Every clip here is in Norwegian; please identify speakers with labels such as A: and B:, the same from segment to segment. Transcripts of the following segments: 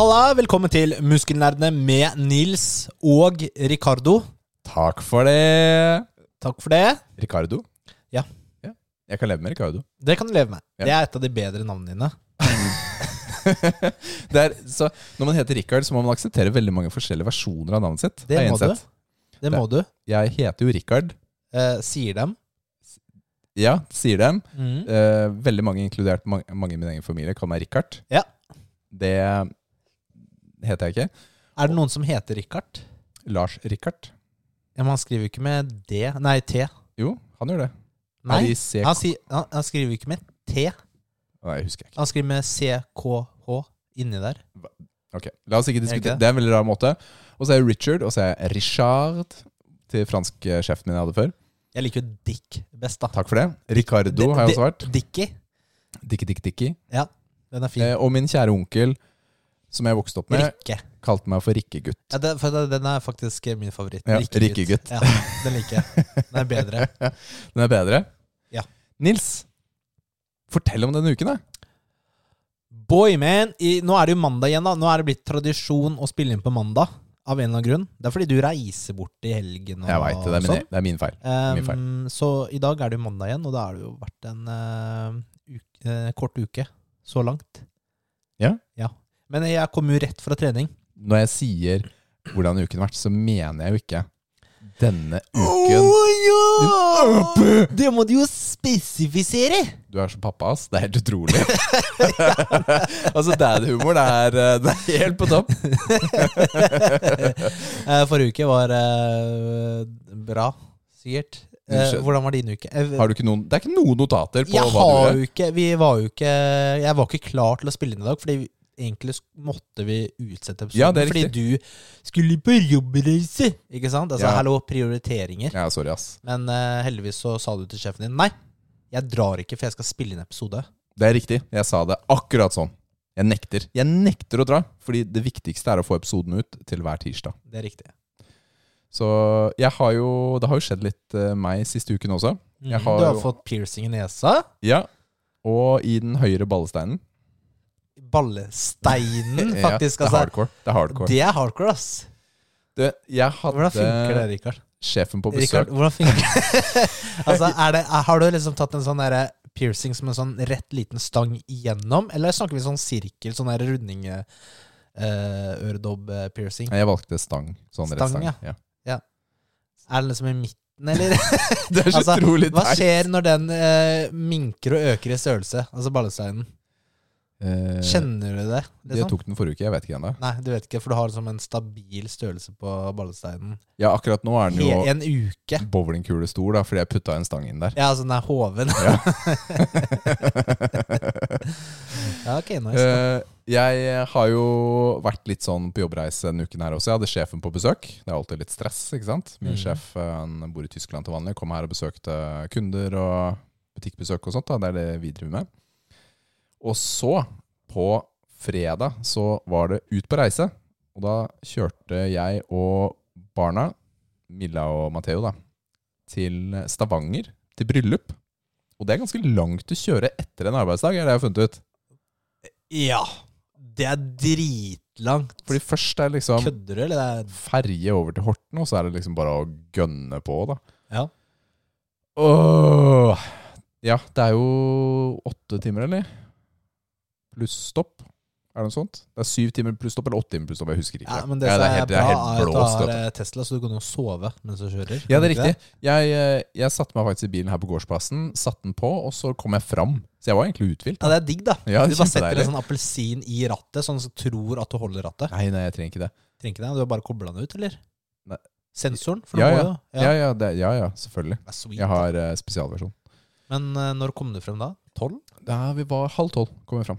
A: Halla, velkommen til Muskelnerdene med Nils og Ricardo.
B: Takk for det.
A: Takk for det.
B: Ricardo?
A: Ja.
B: Jeg kan leve med Ricardo.
A: Det kan du leve med.
B: Ja.
A: Det er et av de bedre navnene dine.
B: Det er, så når man heter Richard, så må man akseptere veldig mange forskjellige versjoner av navnet sitt.
A: Det
B: har jeg
A: må du.
B: innsett.
A: Det må du.
B: Jeg heter jo Richard.
A: Eh, sier dem.
B: Ja, sier dem.
A: Mm.
B: Eh, veldig mange, inkludert mange, mange i min egen familie, kaller meg Richard.
A: Ja.
B: Det heter jeg ikke.
A: Er det noen som heter Richard?
B: Lars Richard.
A: Ja, men han skriver jo ikke med D. Nei, T.
B: Jo, han gjør det.
A: Nei,
B: Er de C-
A: han, sier, han, han skriver jo ikke med T.
B: Nei, jeg husker ikke.
A: Han skriver med CKH inni der.
B: Ok, La oss ikke
A: Er det
B: diskutere.
A: ikke?
B: Det er en veldig rar måte. Og så er jeg Richard, og så er jeg Richard til fransk eh, sjefen min jeg hadde før.
A: Jeg liker jo Dick best, da.
B: Takk for det. Ricardo har jeg også vært.
A: Dicky.
B: Dikki, dikki, dikki.
A: Ja, den er fin.
B: Eh, og min kjære onkel, som jeg vokste opp med,
A: Rikke.
B: kalte meg for Rikkegutt.
A: Ja, den, for den- den er faktisk min favoritt.
B: Ja,
A: Rikkegutt.
B: Rikkegutt.
A: Ja, den liker jeg. Den er bedre.
B: Den er bedre.
A: Ja.
B: Nils, fortell om denne uken, da.
A: Boy, man! I, nå er det jo mandag igjen, da. Nå er det blitt tradisjon å spille inn på mandag. Av en eller annen grunn. Det er fordi du reiser bort i helgen og,
B: Jeg veit det. Det er min, det er min feil.
A: sånn.
B: min feil.
A: Ehm, så i dag er det jo mandag igjen, og da har det jo vært en eh, uke, eh, kort uke så langt.
B: Ja.
A: Men jeg kom jo rett fra trening.
B: Når jeg sier hvordan uken har vært, så mener jeg jo ikke denne uken.
A: ja! Det må du jo spesifisere!
B: Du er som pappa, ass. Det er helt utrolig. altså, dad-humor, det, er, eh, det er helt på topp.
A: Eh, Forrige uke var eh, bra, sikkert.
B: Du
A: Eh,
B: skjønner.
A: hvordan var din uke? Eh,
B: Har du ikke noen, det er ikke noen notater på
A: jeg
B: hva du
A: har
B: gjør.
A: jo ikke Vi var jo ikke Jeg var ikke klar til å spille inn i dag, fordi vi- egentlig sk- måtte vi utsette episoden.
B: Ja, det er
A: fordi du skulle på jobbreise! Ikke sant? Altså,
B: Ja.
A: hallo, prioriteringer.
B: Ja, sorry, ass.
A: Men eh, heldigvis så sa du til sjefen din nei, jeg drar ikke, for jeg skal spille inn episode.
B: Det er riktig. Jeg sa det akkurat sånn. Jeg nekter. Jeg nekter å dra, fordi det viktigste er å få episoden ut til hver tirsdag.
A: Det er riktig.
B: Så jeg har jo Det har jo skjedd litt eh, meg siste uken også.
A: Mm.
B: Jeg har
A: du har
B: jo-
A: fått piercing i nesa.
B: Ja. Og i den høyre ballesteinen.
A: Ballesteinen,
B: Ja,
A: faktisk.
B: det er
A: altså,
B: hardcore. Det er hardcore.
A: det er hardcore, ass.
B: Du, jeg
A: Hvordan funker det,
B: hadde
A: Rikard?
B: sjefen på
A: Rikard,
B: besøk.
A: hvordan funker det? altså, er det? er- Har du liksom tatt en sånn derre piercing som en sånn rett liten stang igjennom, eller snakker vi sånn sirkel, sånn der runding eh, øredobb-piercing?
B: Nei, Jeg valgte stang. Sånn rett
A: Stang,
B: stang.
A: ja.
B: Ja.
A: Er den liksom i midten, eller?
B: Det er så
A: Altså,
B: utrolig
A: Hva
B: teit.
A: skjer når den eh, minker og øker i størrelse? Altså ballesteinen.
B: Eh,
A: Kjenner du det?
B: Jeg
A: Liksom?
B: tok den forrige uke. Jeg vet ikke ennå.
A: Nei, du vet ikke, for du har liksom en stabil størrelse på ballesteinen.
B: Ja, akkurat nå er den
A: He
B: jo
A: en uke.
B: bowlingkule stor, da, fordi jeg putta en stang inn der.
A: Ja, altså den er hoven. ja, ok, nice.
B: Eh, jeg har jo vært litt sånn på jobbreise denne uken her også. Jeg hadde sjefen på besøk. Det er alltid litt stress, ikke sant. Min
A: Mm.
B: sjef eh, han bor i Tyskland til vanlig. Kom her og besøkte kunder og butikkbesøk og sånt. Da. Det er det vi driver med. Og så, på fredag, så var det ut på reise. Og da kjørte jeg og barna, Milla og Matheo, da, til Stavanger. Til bryllup. Og det er ganske langt å kjøre etter en arbeidsdag, er det jeg har funnet ut.
A: Ja. Det er dritlangt.
B: Fordi først er det liksom
A: Kødder du, eller? Det er,
B: ferje over til Horten, og så er det liksom bare å gønne på, da.
A: ja.
B: Åh. Ja, det er jo åtte timer, eller? Pluss stopp. Er det noe sånt? Det er syv timer pluss stopp, eller åtte timer pluss stopp. Jeg husker ikke.
A: ja, men det som
B: det
A: er,
B: helt- det
A: bra,
B: helt
A: er at du
B: blåst,
A: har
B: vet du.
A: eh, Tesla, så du kan jo sove mens du kjører.
B: Ja, det er
A: Ikke
B: riktig. Jeg, eh, jeg satte meg faktisk i bilen her på gårdsplassen, satte den på, og så kom jeg fram. Så jeg var egentlig uthvilt.
A: Ja, det er digg, da.
B: Ja,
A: Du
B: det er
A: bare setter
B: kjempedeilig.
A: en sånn appelsin i rattet, sånn som tror at du holder rattet.
B: Nei, nei, jeg trenger ikke det.
A: Trenger ikke det. Du har bare kobla den ut, eller?
B: Nei.
A: Sensoren? For
B: Ja
A: du må
B: ja.
A: jo.
B: Ja, ja, det, ja, ja, selvfølgelig.
A: Det er sweet.
B: Jeg har eh, spesialversjon.
A: Men eh, når kom du frem da? Tolv?
B: Da vi var halv tolv, kom vi fram.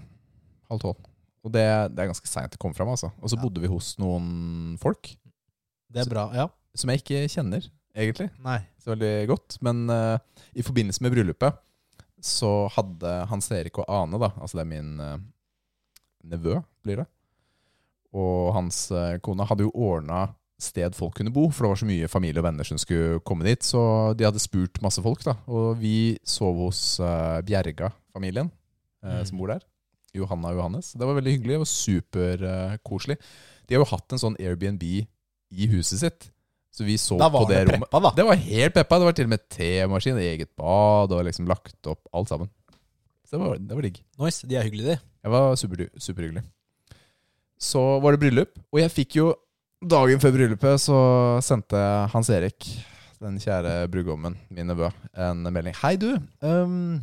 B: Halv tolv. Og det, det er ganske seint det kom fram. Altså. Og så
A: Ja.
B: bodde vi hos noen folk
A: Det er bra. Ja.
B: som jeg ikke kjenner, egentlig.
A: Nei.
B: så veldig godt. Men eh, i forbindelse med bryllupet så hadde Hans Erik og Ane, da, altså det er min eh, nevø, blir det, og hans eh, kone hadde jo ordna sted folk kunne bo, for det var så mye familie og venner som skulle komme dit. Så de hadde spurt masse folk, da. Og vi sov hos eh, Bjerga-familien eh,
A: Mm.
B: som bor der. Johanna og Johannes. Det var veldig hyggelig og superkoselig. de har jo hatt en sånn Airbnb i huset sitt, så vi sov
A: Da
B: på
A: var
B: det
A: det
B: rommet.
A: preppa, da.
B: Det var helt peppa. Det var til og med temaskin, eget bad og liksom lagt opp alt sammen. Så det var, det var digg.
A: Nice. De er hyggelige, de.
B: Jeg var super, superhyggelig. Så var det bryllup, og jeg fikk jo Dagen før bryllupet så sendte Hans Erik, den kjære brudgommen, min nevø, en melding. Hei, du. ehm,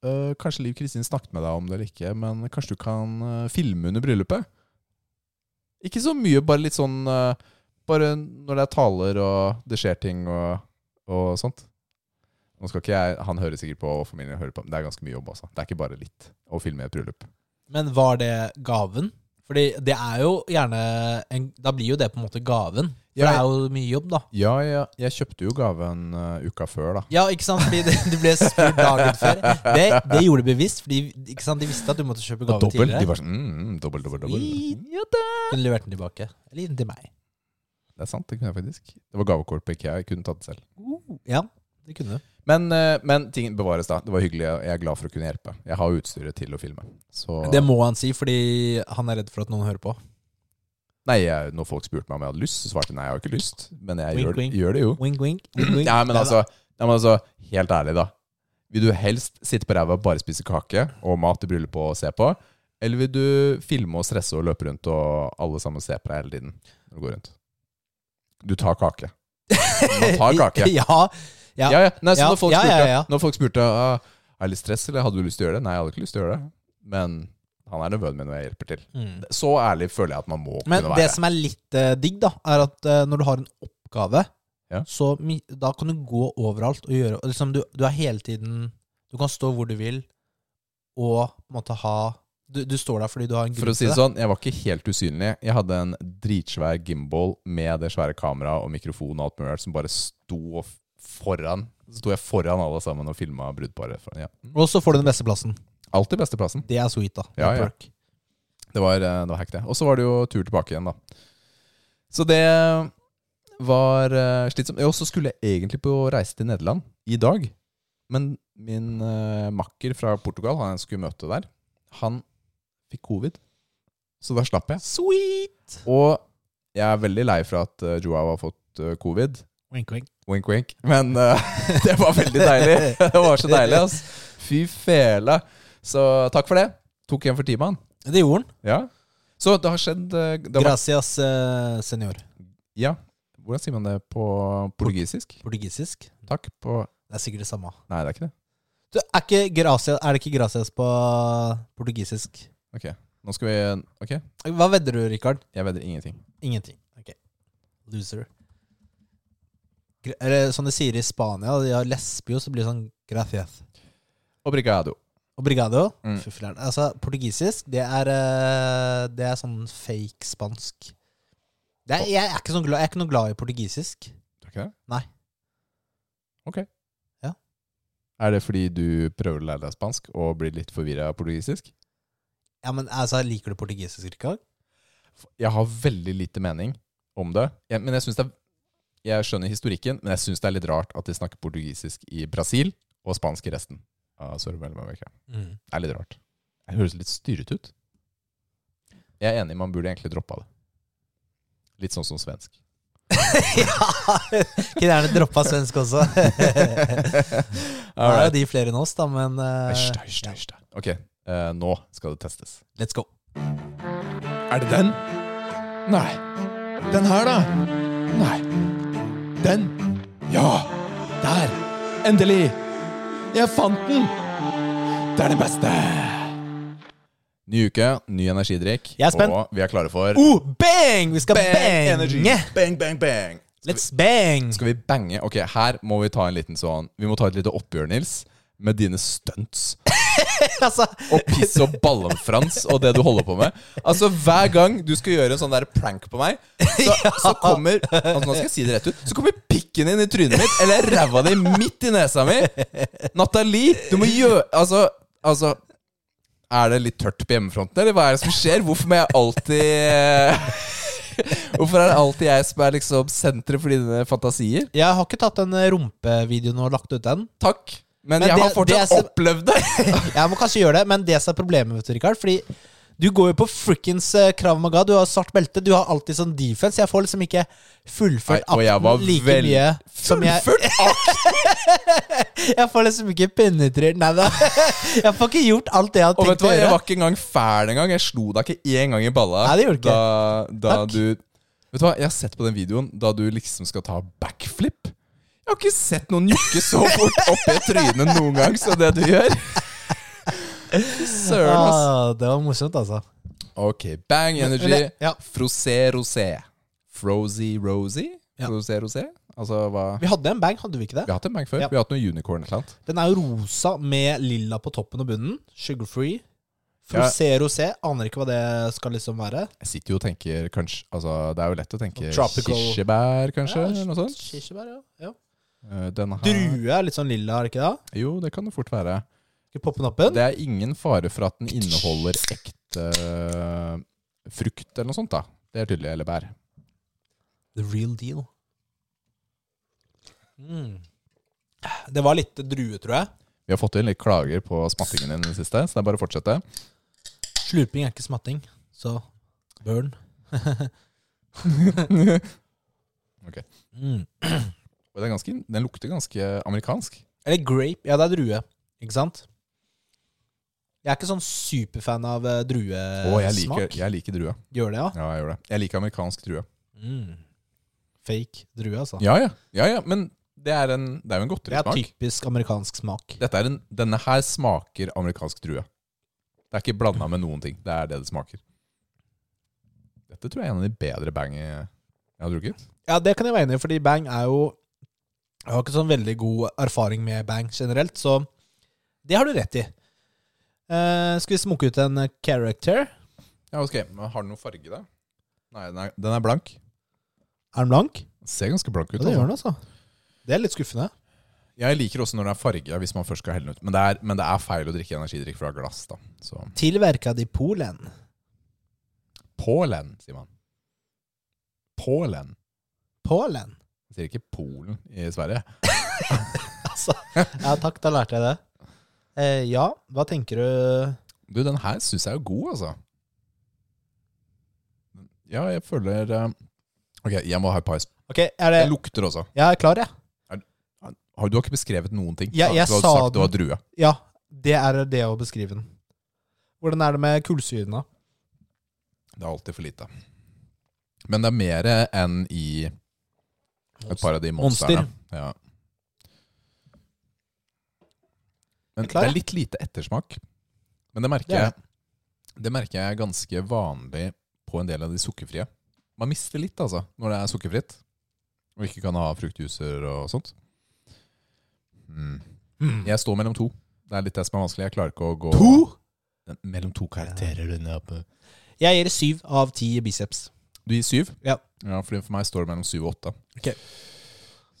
B: øh, kanskje Liv Kristin snakket med deg om det eller ikke, men kanskje du kan øh, filme under bryllupet? Ikke så mye, bare litt sånn øh, Bare når det er taler og det skjer ting og, og sånt. Nå skal ikke jeg, Han hører sikkert på, og familien hører på, men det er ganske mye jobb, altså. Det er ikke bare litt å filme et bryllup.
A: Men var det gaven? Fordi det er jo gjerne en, Da blir jo det på en måte gaven. For
B: Ja,
A: det er jo mye jobb, da.
B: Ja, ja, jeg kjøpte jo gaven eh, uka før, da.
A: Ja, ikke sant? Fordi det, du ble spurt dagen før. Det, det gjorde de bevisst, fordi ikke sant? de visste at du måtte kjøpe gave
B: Dobbel.
A: tidligere.
B: De var sånn mm, mm, dobbel, dobbel, dobbel.
A: Sweet. Hun leverte den tilbake. Eller den til meg.
B: Det er sant, det kunne jeg faktisk. Det var gavekort på IKEA, jeg kunne tatt det selv.
A: Ja, det kunne du.
B: Men, eh, men ting bevares, da. Det var hyggelig, og jeg er glad for å kunne hjelpe. Jeg har jo utstyret til å filme. Så
A: Det må han si, fordi han er redd for at noen hører på.
B: Nei, jeg, når folk spurte meg om jeg hadde lyst, så svarte jeg nei, jeg har ikke lyst. Men jeg
A: Wink,
B: gjør,
A: wink.
B: gjør det jo.
A: Wink, wink. wink, wink.
B: Ja, men altså, ja, men altså Helt ærlig, da. Vil du helst sitte på ræva og bare spise kake og mat i bryllupet og se på? Eller vil du filme og stresse og løpe rundt og alle sammen se på deg hele tiden? når Du går rundt Du tar kake. Man tar kake.
A: Ja, ja.
B: Ja, ja. Nei, så
A: Ja,
B: når, folk
A: ja,
B: spurte,
A: ja, ja.
B: når folk spurte «Ah, Er det litt stress, eller hadde du lyst til å gjøre det? Nei, jeg hadde ikke lyst til å gjøre det. Men han er nevøen min, og jeg hjelper til.
A: Mm.
B: Så ærlig føler jeg at man må
A: Men
B: kunne
A: det
B: være.
A: som er litt eh, digg, da, er at eh, når du har en oppgave,
B: Ja.
A: så mi, da kan du gå overalt og gjøre og liksom, du, du er hele tiden Du kan stå hvor du vil, og på en måte ha Du, du står der fordi du har en
B: For å
A: grunn
B: si
A: til
B: det
A: det.
B: sånn, jeg var ikke helt usynlig. Jeg hadde en dritsvær gimbal med det svære kameraet og mikrofon og alt mulig rart som bare sto og f- foran. Så sto jeg foran alle sammen og filma brudeparet. fra- Ja.
A: Og så får du den beste plassen.
B: Alltid beste plassen.
A: Det er sweet, da.
B: Ja, ja.
A: Network.
B: Det var, eh, det var hekt, det. Og så var det jo tur tilbake igjen, da. Så det var eh, slitsomt. Og så skulle jeg egentlig på reise til Nederland i dag. Men min eh, makker fra Portugal, han jeg skulle møte der, han fikk covid. Så da slapp jeg.
A: Sweet!
B: Og jeg er veldig lei for at eh, Joao har fått eh, covid.
A: Wink, wink.
B: Wink, wink. Men eh, det var veldig deilig. det var så deilig, ass. Fy fele. Så takk for det. Tok igjen for timen.
A: Det gjorde han.
B: Ja. Så det har skjedd eh, det har, vært-
A: Gracias, eh, senor.
B: Ja. Hvordan sier man det på portugisisk?
A: Portugisisk.
B: Takk på
A: Det er sikkert det samme.
B: Nei, det er ikke det.
A: Du, er, ikke gracias, er det ikke gracias på portugisisk?
B: Ok. Nå skal vi Ok,
A: Hva vedder du, Rikard?
B: jeg vedder ingenting.
A: Ingenting. Ok. Loser. Gre- Eller som de sier i Spania, de har lesbio, så blir det sånn gracias.
B: Obrigado.
A: Obrigado.
B: Mm.
A: Fy fleren. Altså, portugisisk, det er, eh, det er sånn fake spansk. Det er, jeg, er ikke sånn glad, jeg er ikke noe glad i portugisisk.
B: Du er ikke det?
A: Nei.
B: Ok.
A: Ja.
B: Er det fordi du prøver å lære deg spansk og blir litt forvirra av portugisisk?
A: Ja, men altså, Liker du portugisisk, Rikard?
B: Jeg har veldig lite mening om det. Jeg, men jeg synes det er, Jeg skjønner historikken, men jeg syns det er litt rart at de snakker portugisisk i Brasil og spansk i resten av Sør-Amerika. Det er litt rart. Det høres litt styret ut. Jeg er enig, man burde egentlig droppa det. Litt sånn som svensk.
A: ja! Kunne gjerne droppa svensk også. Nå er jo
B: Alright.
A: de flere enn oss, da, men eh,
B: Æsj, æsj, æsj, æsj. Ok, eh, nå skal det testes.
A: let's go.
B: Er det den? Nei. Den her, da? Nei. Den? Ja! Der! Endelig! Jeg fant den! Det er den beste! Ny uke, ny energidrikk.
A: Jeg er spent.
B: Og vi er klare for
A: Oh, bang! Vi skal
B: energy.
A: bange!
B: Bang, bang, bang!
A: Let's bang!
B: Skal vi bange? Ok, her må vi ta en liten sånn Vi må ta et lite oppgjør, Nils, med dine stunts.
A: altså,
B: og piss og ballonfrans og det du holder på med. Altså Hver gang du skal gjøre en sånn der prank på meg, så, så kommer altså, Nå skal jeg si det rett ut. Så kommer pikken din i trynet mitt, eller ræva di midt i nesa mi. Nathalie, du må gjøre Altså, altså Er det litt tørt på hjemmefronten, eller hva er det som skjer? Hvorfor må jeg alltid eh, Hvorfor er det alltid jeg som er liksom senteret for dine fantasier?
A: jeg har ikke tatt den eh, rumpevideoen og lagt ut den.
B: Takk. Men,
A: Men
B: jeg
A: det-
B: har fortsatt
A: det er-
B: opplevd det.
A: Jeg må kanskje gjøre det, men det som er problemet, vet du, Rikard Fordi du går jo på frikkens eh, Krav Maga. Du har svart belte. Du har alltid sånn defense. Jeg får liksom ikke fullført
B: Nei, og jeg var
A: akten like
B: vel-
A: mye som jeg
B: Fullført
A: Jeg får liksom ikke penetrert Nei da. Jeg får ikke gjort alt det jeg har
B: Og vet
A: tenkt å
B: du hva, jeg
A: gjøre.
B: var ikke engang fæl engang. Jeg slo deg ikke én gang i balla.
A: Nei, det gjorde du ikke.
B: Da, da
A: Takk.
B: du Vet du hva, jeg har sett på den videoen da du liksom skal ta backflip. Jeg har ikke sett noen jukke så fort opp i trynet noen gang som det du gjør. Fy Søren, ass.
A: Ah, det var morsomt, altså.
B: Ok, bang energy.
A: Men- ja.
B: Frosé rosé. Frozy rosy?
A: Ja.
B: Frosé rosé? Altså hva
A: Vi hadde en bang, hadde vi ikke det?
B: Vi har hatt en bang før.
A: Ja.
B: Vi har hatt noe unicorn eller noe.
A: Den er jo rosa med lilla på toppen og bunnen. Sugar free. Frosé rosé. Aner ikke hva det skal liksom være.
B: Jeg sitter jo og tenker kanskje Altså, det er jo lett å tenke
A: Tropical.
B: kirsebær, kanskje? eller noe sånt.
A: Kirsebær, ja. ja.
B: Eh, Denne her
A: Drue er litt sånn lilla, er det ikke det?
B: Jo, det kan det fort være.
A: Skal vi poppe den opp igjen?
B: Det er ingen fare for at den inneholder ekte eh, frukt eller noe sånt, da. Det er tydelig. Eller bær.
A: The real deal. Mm. Det var litt drue, tror jeg.
B: Vi har fått inn litt klager på smattingen din i det siste, så det er bare å fortsette.
A: Slurping er ikke smatting, så burn.
B: Ok.
A: Mm.
B: Og den, er ganske, den lukter ganske amerikansk.
A: Eller grape. Ja, det er drue. Ikke sant? Jeg er ikke sånn superfan av eh, druesmak.
B: Å, jeg liker, jeg liker drue.
A: Gjør det, ja?
B: Ja, jeg gjør det. Jeg liker amerikansk drue.
A: Mm. Fake drue, altså.
B: Ja ja, ja, ja men det er, en, det er jo en
A: det er
B: godterismak.
A: typisk amerikansk smak.
B: Dette er en, denne her smaker amerikansk drue. Det er ikke blanda med noen ting. Det er det det smaker. Dette tror jeg er en av de bedre bang eh, jeg har drukket.
A: Ja, det kan jeg være enig i, fordi Bang er jo Jeg har ikke sånn veldig god erfaring med Bang generelt, så det har du rett i. Eh, skal vi smoke ut en character?
B: Ja, ok, men Har den noen farge, da? Nei, den er, den er blank.
A: Er den blank?
B: Den ser ganske blank ut.
A: Ja, det gjør
B: altså.
A: den, altså. Det er litt skuffende.
B: Jeg liker også når den er farga, hvis man først skal helle den ut. Men det er, men det er feil å drikke energidrikk fra glass, da. Så
A: Tilverkad i Polen.
B: Polen, sier man. Polen.
A: Polen?
B: Man sier ikke Polen i Sverige.
A: Altså, ja takk, da lærte jeg det. Eh, ja, hva tenker du?
B: Du, den her syns jeg er god, altså. Ja, jeg føler eh, Ok, jeg må ha et par. sp-
A: Ok, er det
B: Det lukter også.
A: Jeg er klar, jeg.
B: Har- Du har ikke beskrevet noen ting.
A: Ja, jeg
B: du
A: sa
B: har
A: den.
B: sagt du har drue.
A: Ja. det er det å beskrive den. Hvordan er det med kullsyren, da?
B: Det er alltid for lite. Men det er mer enn i et par av de
A: Monster.
B: monstrene. Ja. Men
A: Er klar,
B: det
A: ja?
B: er litt lite ettersmak. Men det merker,
A: Det er
B: jeg, det merker jeg er ganske vanlig på en del av de sukkerfrie. Man mister litt, altså, når det er sukkerfritt. Og ikke kan ha fruktjuicer og sånt. Mm. Jeg står mellom to. Det er litt det som er vanskelig. Jeg klarer ikke å gå Mellom to karakterer. Ja.
A: Jeg gir syv av ti biceps.
B: Du gir syv?
A: Ja.
B: ja fordi for meg står det mellom syv og åtte.
A: Ok.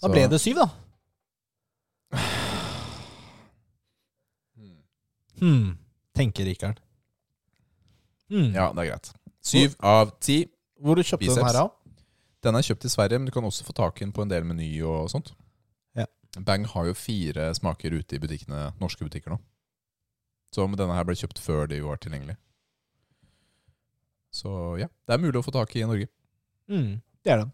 B: Så-
A: Da ble det syv, da. Hmm, tenker Rikard. Hmm.
B: Ja, det er greit. Syv av ti.
A: Hvor du kjøpte
B: Biceps.
A: den her av?
B: Den er kjøpt i Sverige, men du kan også få tak i den på en del meny og sånt.
A: Ja.
B: Bang har jo fire smaker ute i butikkene, norske butikker nå. Så om denne her ble kjøpt før de var tilgjengelig. Så ja, det er mulig å få tak i i Norge.
A: Hmm, det er den.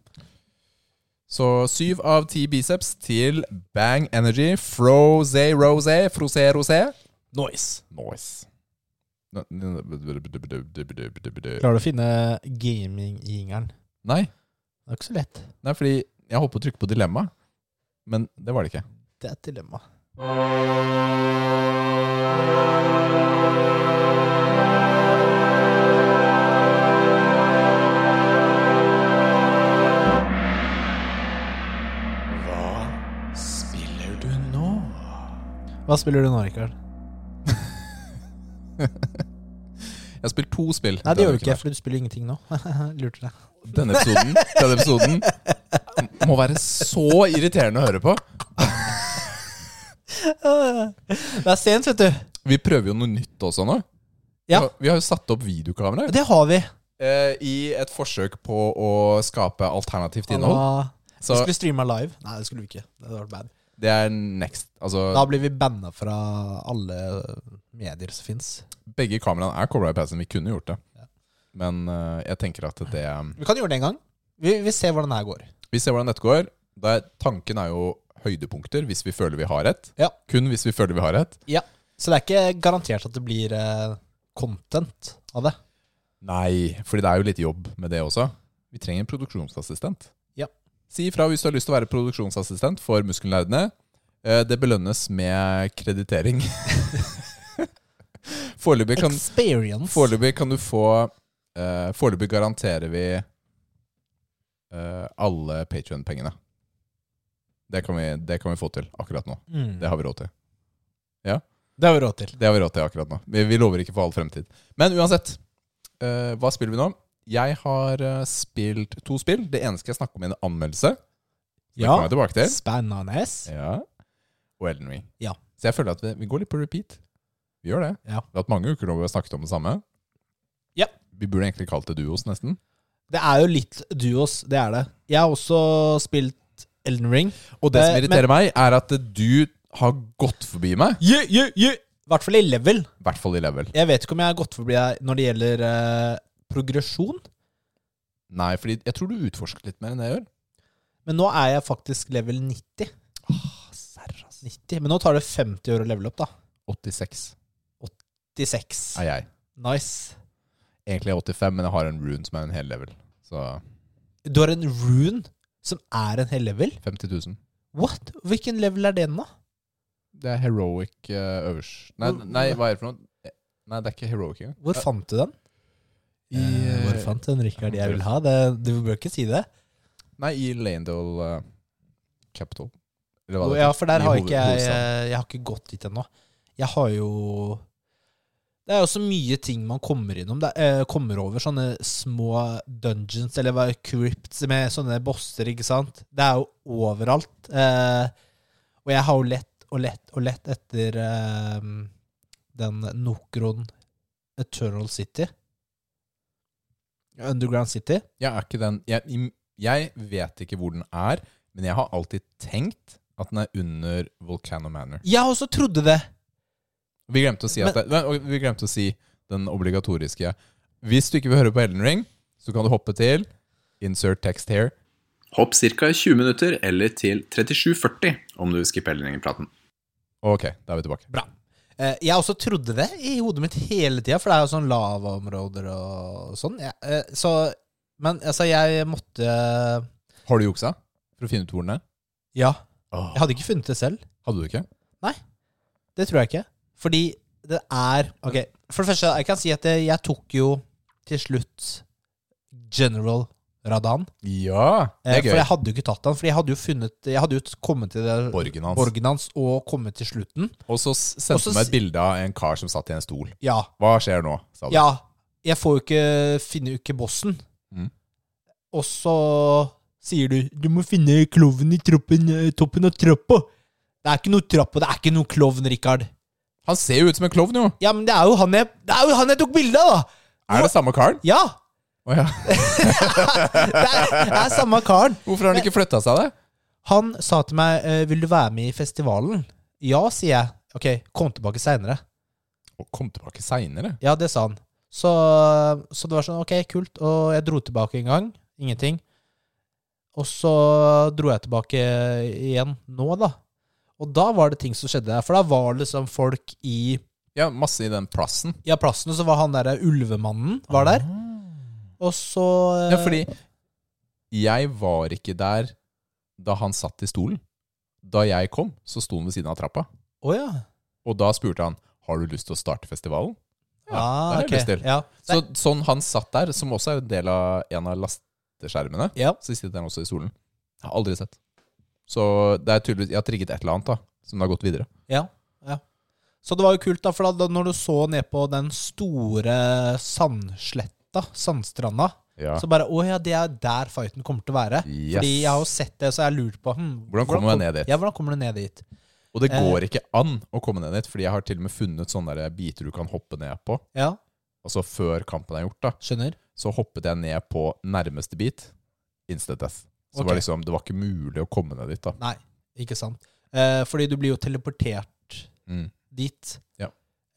B: Så syv av ti biceps til Bang Energy Froze Rose Frosé Rosé.
A: Nice.
B: Noise.
A: Klarer du å finne gaming-jingeren?
B: Nei,
A: Det er ikke så lett.
B: Nei, fordi jeg holdt på å trykke på dilemma, men det var det ikke.
A: Det er et dilemma.
B: Hva spiller du nå?
A: Hva spiller du nå, Rikard?
B: Jeg har spilt to spill.
A: Nei, det gjør du
B: denne
A: ikke,
B: uken her.
A: for du spiller jo ingenting nå. Lurte deg.
B: Denne episoden, denne episoden må være så irriterende å høre på.
A: Det er sent, vet du.
B: Vi prøver jo noe nytt også nå.
A: Ja.
B: Vi har jo satt opp videokamera
A: Det har vi.
B: eh, i et forsøk på å skape alternativt innhold.
A: Ah, Vi
B: Så
A: skulle streama live. Nei, det skulle vi ikke. Det hadde vært bad.
B: det er next. Altså,
A: Da blir vi banna fra alle medier som fins.
B: begge kameraene er kobla i PC-en. Vi kunne gjort det. Men eh, jeg tenker at det
A: Vi kan gjøre det en gang. Vi, vi ser hvordan det her går.
B: Vi ser hvordan dette går. Det er, tanken er jo høydepunkter hvis vi føler vi har rett.
A: Ja.
B: Kun hvis vi føler vi har rett.
A: Så det er ikke garantert at det blir eh, content av det.
B: Nei, fordi det er jo litt jobb med det også. Vi trenger en produksjonsassistent.
A: Ja.
B: Si ifra hvis du har lyst til å være produksjonsassistent for Muskelnerdene. Eh, Det belønnes med kreditering. foreløpig, kan,
A: Experience.
B: foreløpig kan du få eh, Foreløpig garanterer vi eh, alle Patrion-pengene. Det, kan vi- det kan vi få til akkurat nå.
A: Mm.
B: Det har vi råd til.
A: Det har vi råd til.
B: Det har vi råd til akkurat nå. Vi, vi lover ikke for all fremtid. Men uansett, eh, hva spiller vi nå? Jeg har eh, spilt to spill. Det ene skal jeg snakke om i en anmeldelse. Det
A: Ja.
B: kommer jeg tilbake til.
A: Spennende.
B: Ja. Og Elden Ring.
A: Ja.
B: Så jeg føler at vi, vi går litt på repeat. Vi gjør det.
A: Ja.
B: Vi har hatt mange uker nå hvor vi har snakket om det samme.
A: Ja.
B: Vi burde egentlig kalt det duos, nesten.
A: Det er jo litt duos, det er det. Jeg har også spilt Elden Ring.
B: Og det som
A: Eh,
B: irriterer meg, er at du har gått forbi meg.
A: Yeah, yeah, yeah. I hvert fall i level.
B: I hvert fall i level.
A: Jeg vet ikke om jeg har gått forbi deg når det gjelder eh, progresjon,
B: Nei, fordi jeg tror du utforsket litt mer enn det jeg gjør.
A: men nå er jeg faktisk level 90. 90. Men nå tar det 50 år å levele opp, da.
B: 86
A: 96.
B: er jeg.
A: Nice.
B: Egentlig er jeg 85, men jeg har en rune som er en hel level. Så
A: Du har en rune som er en hel level?
B: 50 000.
A: What? Hvilken level er den, da?
B: Det er heroic uh, øverst. Nei,
A: Hvor-
B: nei, hva er det for noe? Nei, det er ikke heroic engang.
A: Hvor fant du den?
B: I,
A: Eh, Hvor
B: eh,
A: fant du den, Rikard? Jeg vil ha det. Du bør ikke si det.
B: Nei, i Lanedale eh, Capital. Eller hva det
A: Ja,
B: heter.
A: for der
B: I
A: har
B: hoved-
A: ikke jeg eh,
B: hovedstaden.
A: Jeg har ikke gått dit ennå. Jeg har jo Det er jo så mye ting man kommer innom. Det er, eh, kommer over sånne små dungeons, eller hva, crypts med sånne bosser, ikke sant. Det er jo overalt. Eh, og jeg har jo lett og lett og lett etter eh, den Nokron Eternal City. Underground City.
B: Jeg er ikke den jeg, im- jeg vet ikke hvor den er, men jeg har alltid tenkt at den er under Volcano Manor.
A: Jeg også trodde det!
B: Vi glemte å si, at det, nei, vi glemte å si den obligatoriske. Hvis du ikke vil høre på Elden Ring, så kan du hoppe til insert text here.
C: Hopp ca. 20 minutter eller til 37,40 om du vil skippe Elden-praten.
B: Ok, da er vi tilbake.
A: Bra. Eh, jeg også trodde det i hodet mitt hele tida, for det er jo sånn lavaområder og sånn. Jeg, eh, så, men altså, jeg måtte
B: Har du juksa for å finne ut hvor den er?
A: Ja. Jeg hadde ikke funnet det selv.
B: Hadde du ikke?
A: Det tror jeg ikke. Fordi det er Ok, for det første, jeg kan si at jeg, jeg tok jo til slutt General Radan.
B: Ja! Det
A: Eh,
B: er
A: for
B: gøy.
A: jeg hadde jo ikke tatt han, for jeg hadde jo funnet Jeg hadde jo kommet til det,
B: Borgen hans.
A: borgen hans og kommet til slutten.
B: Og så s- sendte
A: Og så
B: du meg
A: s-
B: et bilde av en kar som satt i en stol.
A: Ja.
B: Hva skjer nå? sa du.
A: Ja, jeg får jo ikke finne jo ikke bossen.
B: Mm.
A: Og så sier du 'du må finne klovnen i troppen, eh, toppen av trappa'. Det er ikke noe trapp, og det er ikke noe klovn, Rikard.
B: Han ser jo ut som en klovn, jo!
A: Ja, men det er jo han jeg, det er jo han jeg tok bilde av, da!
B: Er det samme karen?
A: Ja!
B: Å ja.
A: Det er, det er samme karen.
B: Hvorfor har han ikke flytta seg, det?
A: Han sa til meg eh, 'vil du være med i festivalen'? Ja, sier jeg. Ok, kom tilbake seinere.
B: Og kom tilbake seinere.
A: Ja, det sa han. Så, så det var sånn, ok, kult. Og jeg dro tilbake en gang. Ingenting. Og så dro jeg tilbake igjen nå, da. Og da var det ting som skjedde der. For da var liksom folk i
B: Ja, masse i den plassen.
A: Ja, plassen, og så var han derre ulvemannen var der. Og så
B: Ah. Ja, fordi jeg var ikke der da han satt i stolen. Da jeg kom, så sto han ved siden av trappa.
A: Å ja.
B: Og da spurte han har du lyst til å starte festivalen. Ja,
A: Ah,
B: det har jeg
A: ok.
B: lyst til.
A: Ja.
B: Så, sånn han satt der, som også er en del av en av lasteskjermene,
A: ja.
B: så sitter han også i stolen. Jeg har aldri sett. Så det er tydeligvis Jeg har trigget et eller annet, da, som har gått videre.
A: Ja, ja. Så det var jo kult, da, for da, da når du så ned på den store sandsletta, sandstranda,
B: Ja.
A: så bare Å ja, det er der fighten kommer til å være. Fordi jeg har jo sett det, så jeg har lurt på hm,
B: Hvordan kommer
A: kom-
B: man ned dit?
A: Ja, hvordan kommer du ned dit?
B: Og det
A: Eh.
B: går ikke an å komme ned dit, fordi jeg har til og med funnet sånne der biter du kan hoppe ned på.
A: Ja,
B: Altså før kampen er gjort, da.
A: skjønner.
B: Så hoppet jeg ned på nærmeste bit. Instant death. Så
A: Ok.
B: var det liksom, det var ikke mulig å komme ned dit, da.
A: Nei, ikke sant. Eh, fordi du blir jo teleportert
B: Mm.
A: dit.
B: Ja.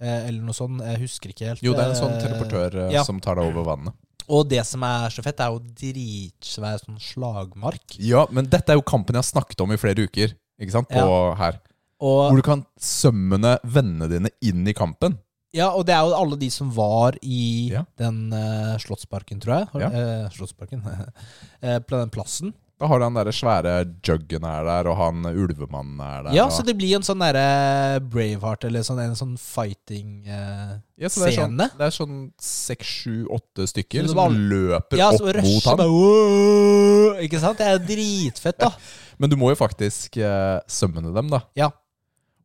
A: Eh, eller noe sånt. Jeg husker ikke helt.
B: Jo, det er en sånn
A: Eh,
B: teleportør eh,
A: ja.
B: som tar deg over vannet.
A: Og det som er så fett, er jo dritsvær sånn slagmark.
B: Ja, men dette er jo kampen jeg har snakket om i flere uker. Ikke sant? På her.
A: Og,
B: Hvor du kan sømmene vennene dine inn i kampen.
A: ja, og det er jo alle de som var i
B: Ja.
A: den eh, Slottsparken, tror jeg.
B: Ja.
A: Eh, slottsparken. eh, på den plassen.
B: Da har du han derre svære juggen er der, og han ulvemannen er der.
A: Ja,
B: og...
A: så det blir en sånn derre Braveheart, eller sånn, en sånn fighting eh,
B: Ja, så det er sånn-
A: scene.
B: Det er sånn seks, sju, åtte
A: Så
B: stykker
A: det
B: som
A: var-
B: løper
A: Ja,
B: opp
A: så
B: mot
A: rusher
B: han.
A: bare «Åh!» Ikke sant? Det er jo dritfett, da.
B: Men du må jo faktisk eh, sømmene dem, da.
A: Ja.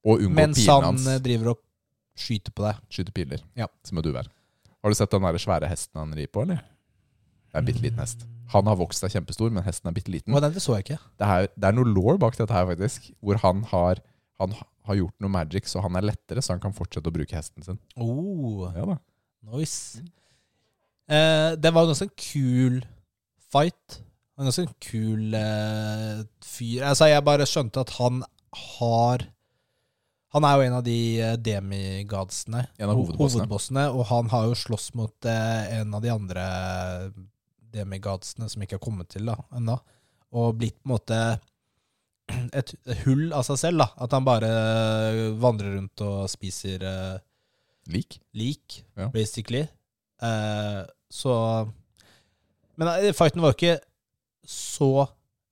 B: Og unngå
A: Mens
B: pilene
A: han
B: hans.
A: eh, driver og skyter på deg.
B: Skyte piler.
A: Ja.
B: Som et uvær. Har du sett den der svære hesten han rir på, eller? Det er en bitte liten hest. Han har vokst seg kjempestor, men hesten er bitte liten.
A: Og den det så jeg ikke.
B: Det er, det er noe law bak dette her, faktisk. Hvor han har, han har gjort noe magic, så han er lettere, så han kan fortsette å bruke hesten sin.
A: Oh,
B: Ja da.
A: nice.
B: Mm.
A: Eh, det var en ganske kul fight. En ganske kul eh, fyr. Altså, jeg bare skjønte at han har Han er jo en av de eh, demigodsene.
B: En av
A: ho-
B: hovedbossene.
A: hovedbossene. Og han har jo slåss mot eh, en av de andre demigodsene som ikke er kommet til da, ennå. Og blitt på en måte et hull av seg selv. da. At han bare eh, vandrer rundt og spiser eh,
B: Lik.
A: lik,
B: Ja.
A: basically. Eh, så Men eh, fighten var jo ikke så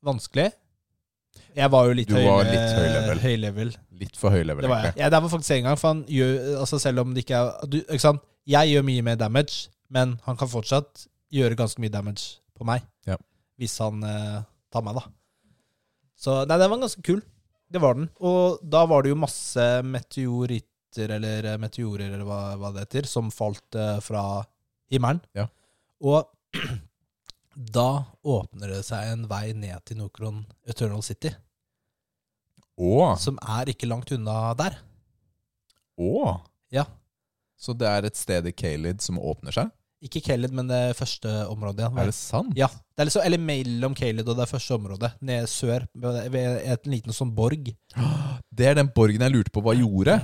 A: vanskelig. Jeg var jo litt
B: Du
A: høy,
B: var litt høy level.
A: høy level.
B: Litt for høy level,
A: Det var jeg.
B: egentlig.
A: Ja, det var faktisk en gang, for han gjør altså Selv om det ikke er du, Ikke sant? Jeg gjør mye mer damage, men han kan fortsatt gjøre ganske mye damage på meg.
B: Ja.
A: Hvis han eh, tar meg, da. Så Nei, den var ganske kul. Det var den. Og da var det jo masse meteoritter, eller eh, meteorer, eller hva, hva det heter, som falt eh, fra himmelen.
B: Ja.
A: Og da åpner det seg en vei ned til Nokron Eternal City,
B: Å,
A: som er ikke langt unna der.
B: å.
A: Ja.
B: Så det er et sted i Kalid som åpner seg?
A: Ikke Kaled, men det første området igjen.
B: Er det sant?
A: Ja, det er liksom, Eller mellom Kaled og det første området, nede sør, ved ved en liten sånn borg.
B: Det er den borgen jeg lurte på hva gjorde.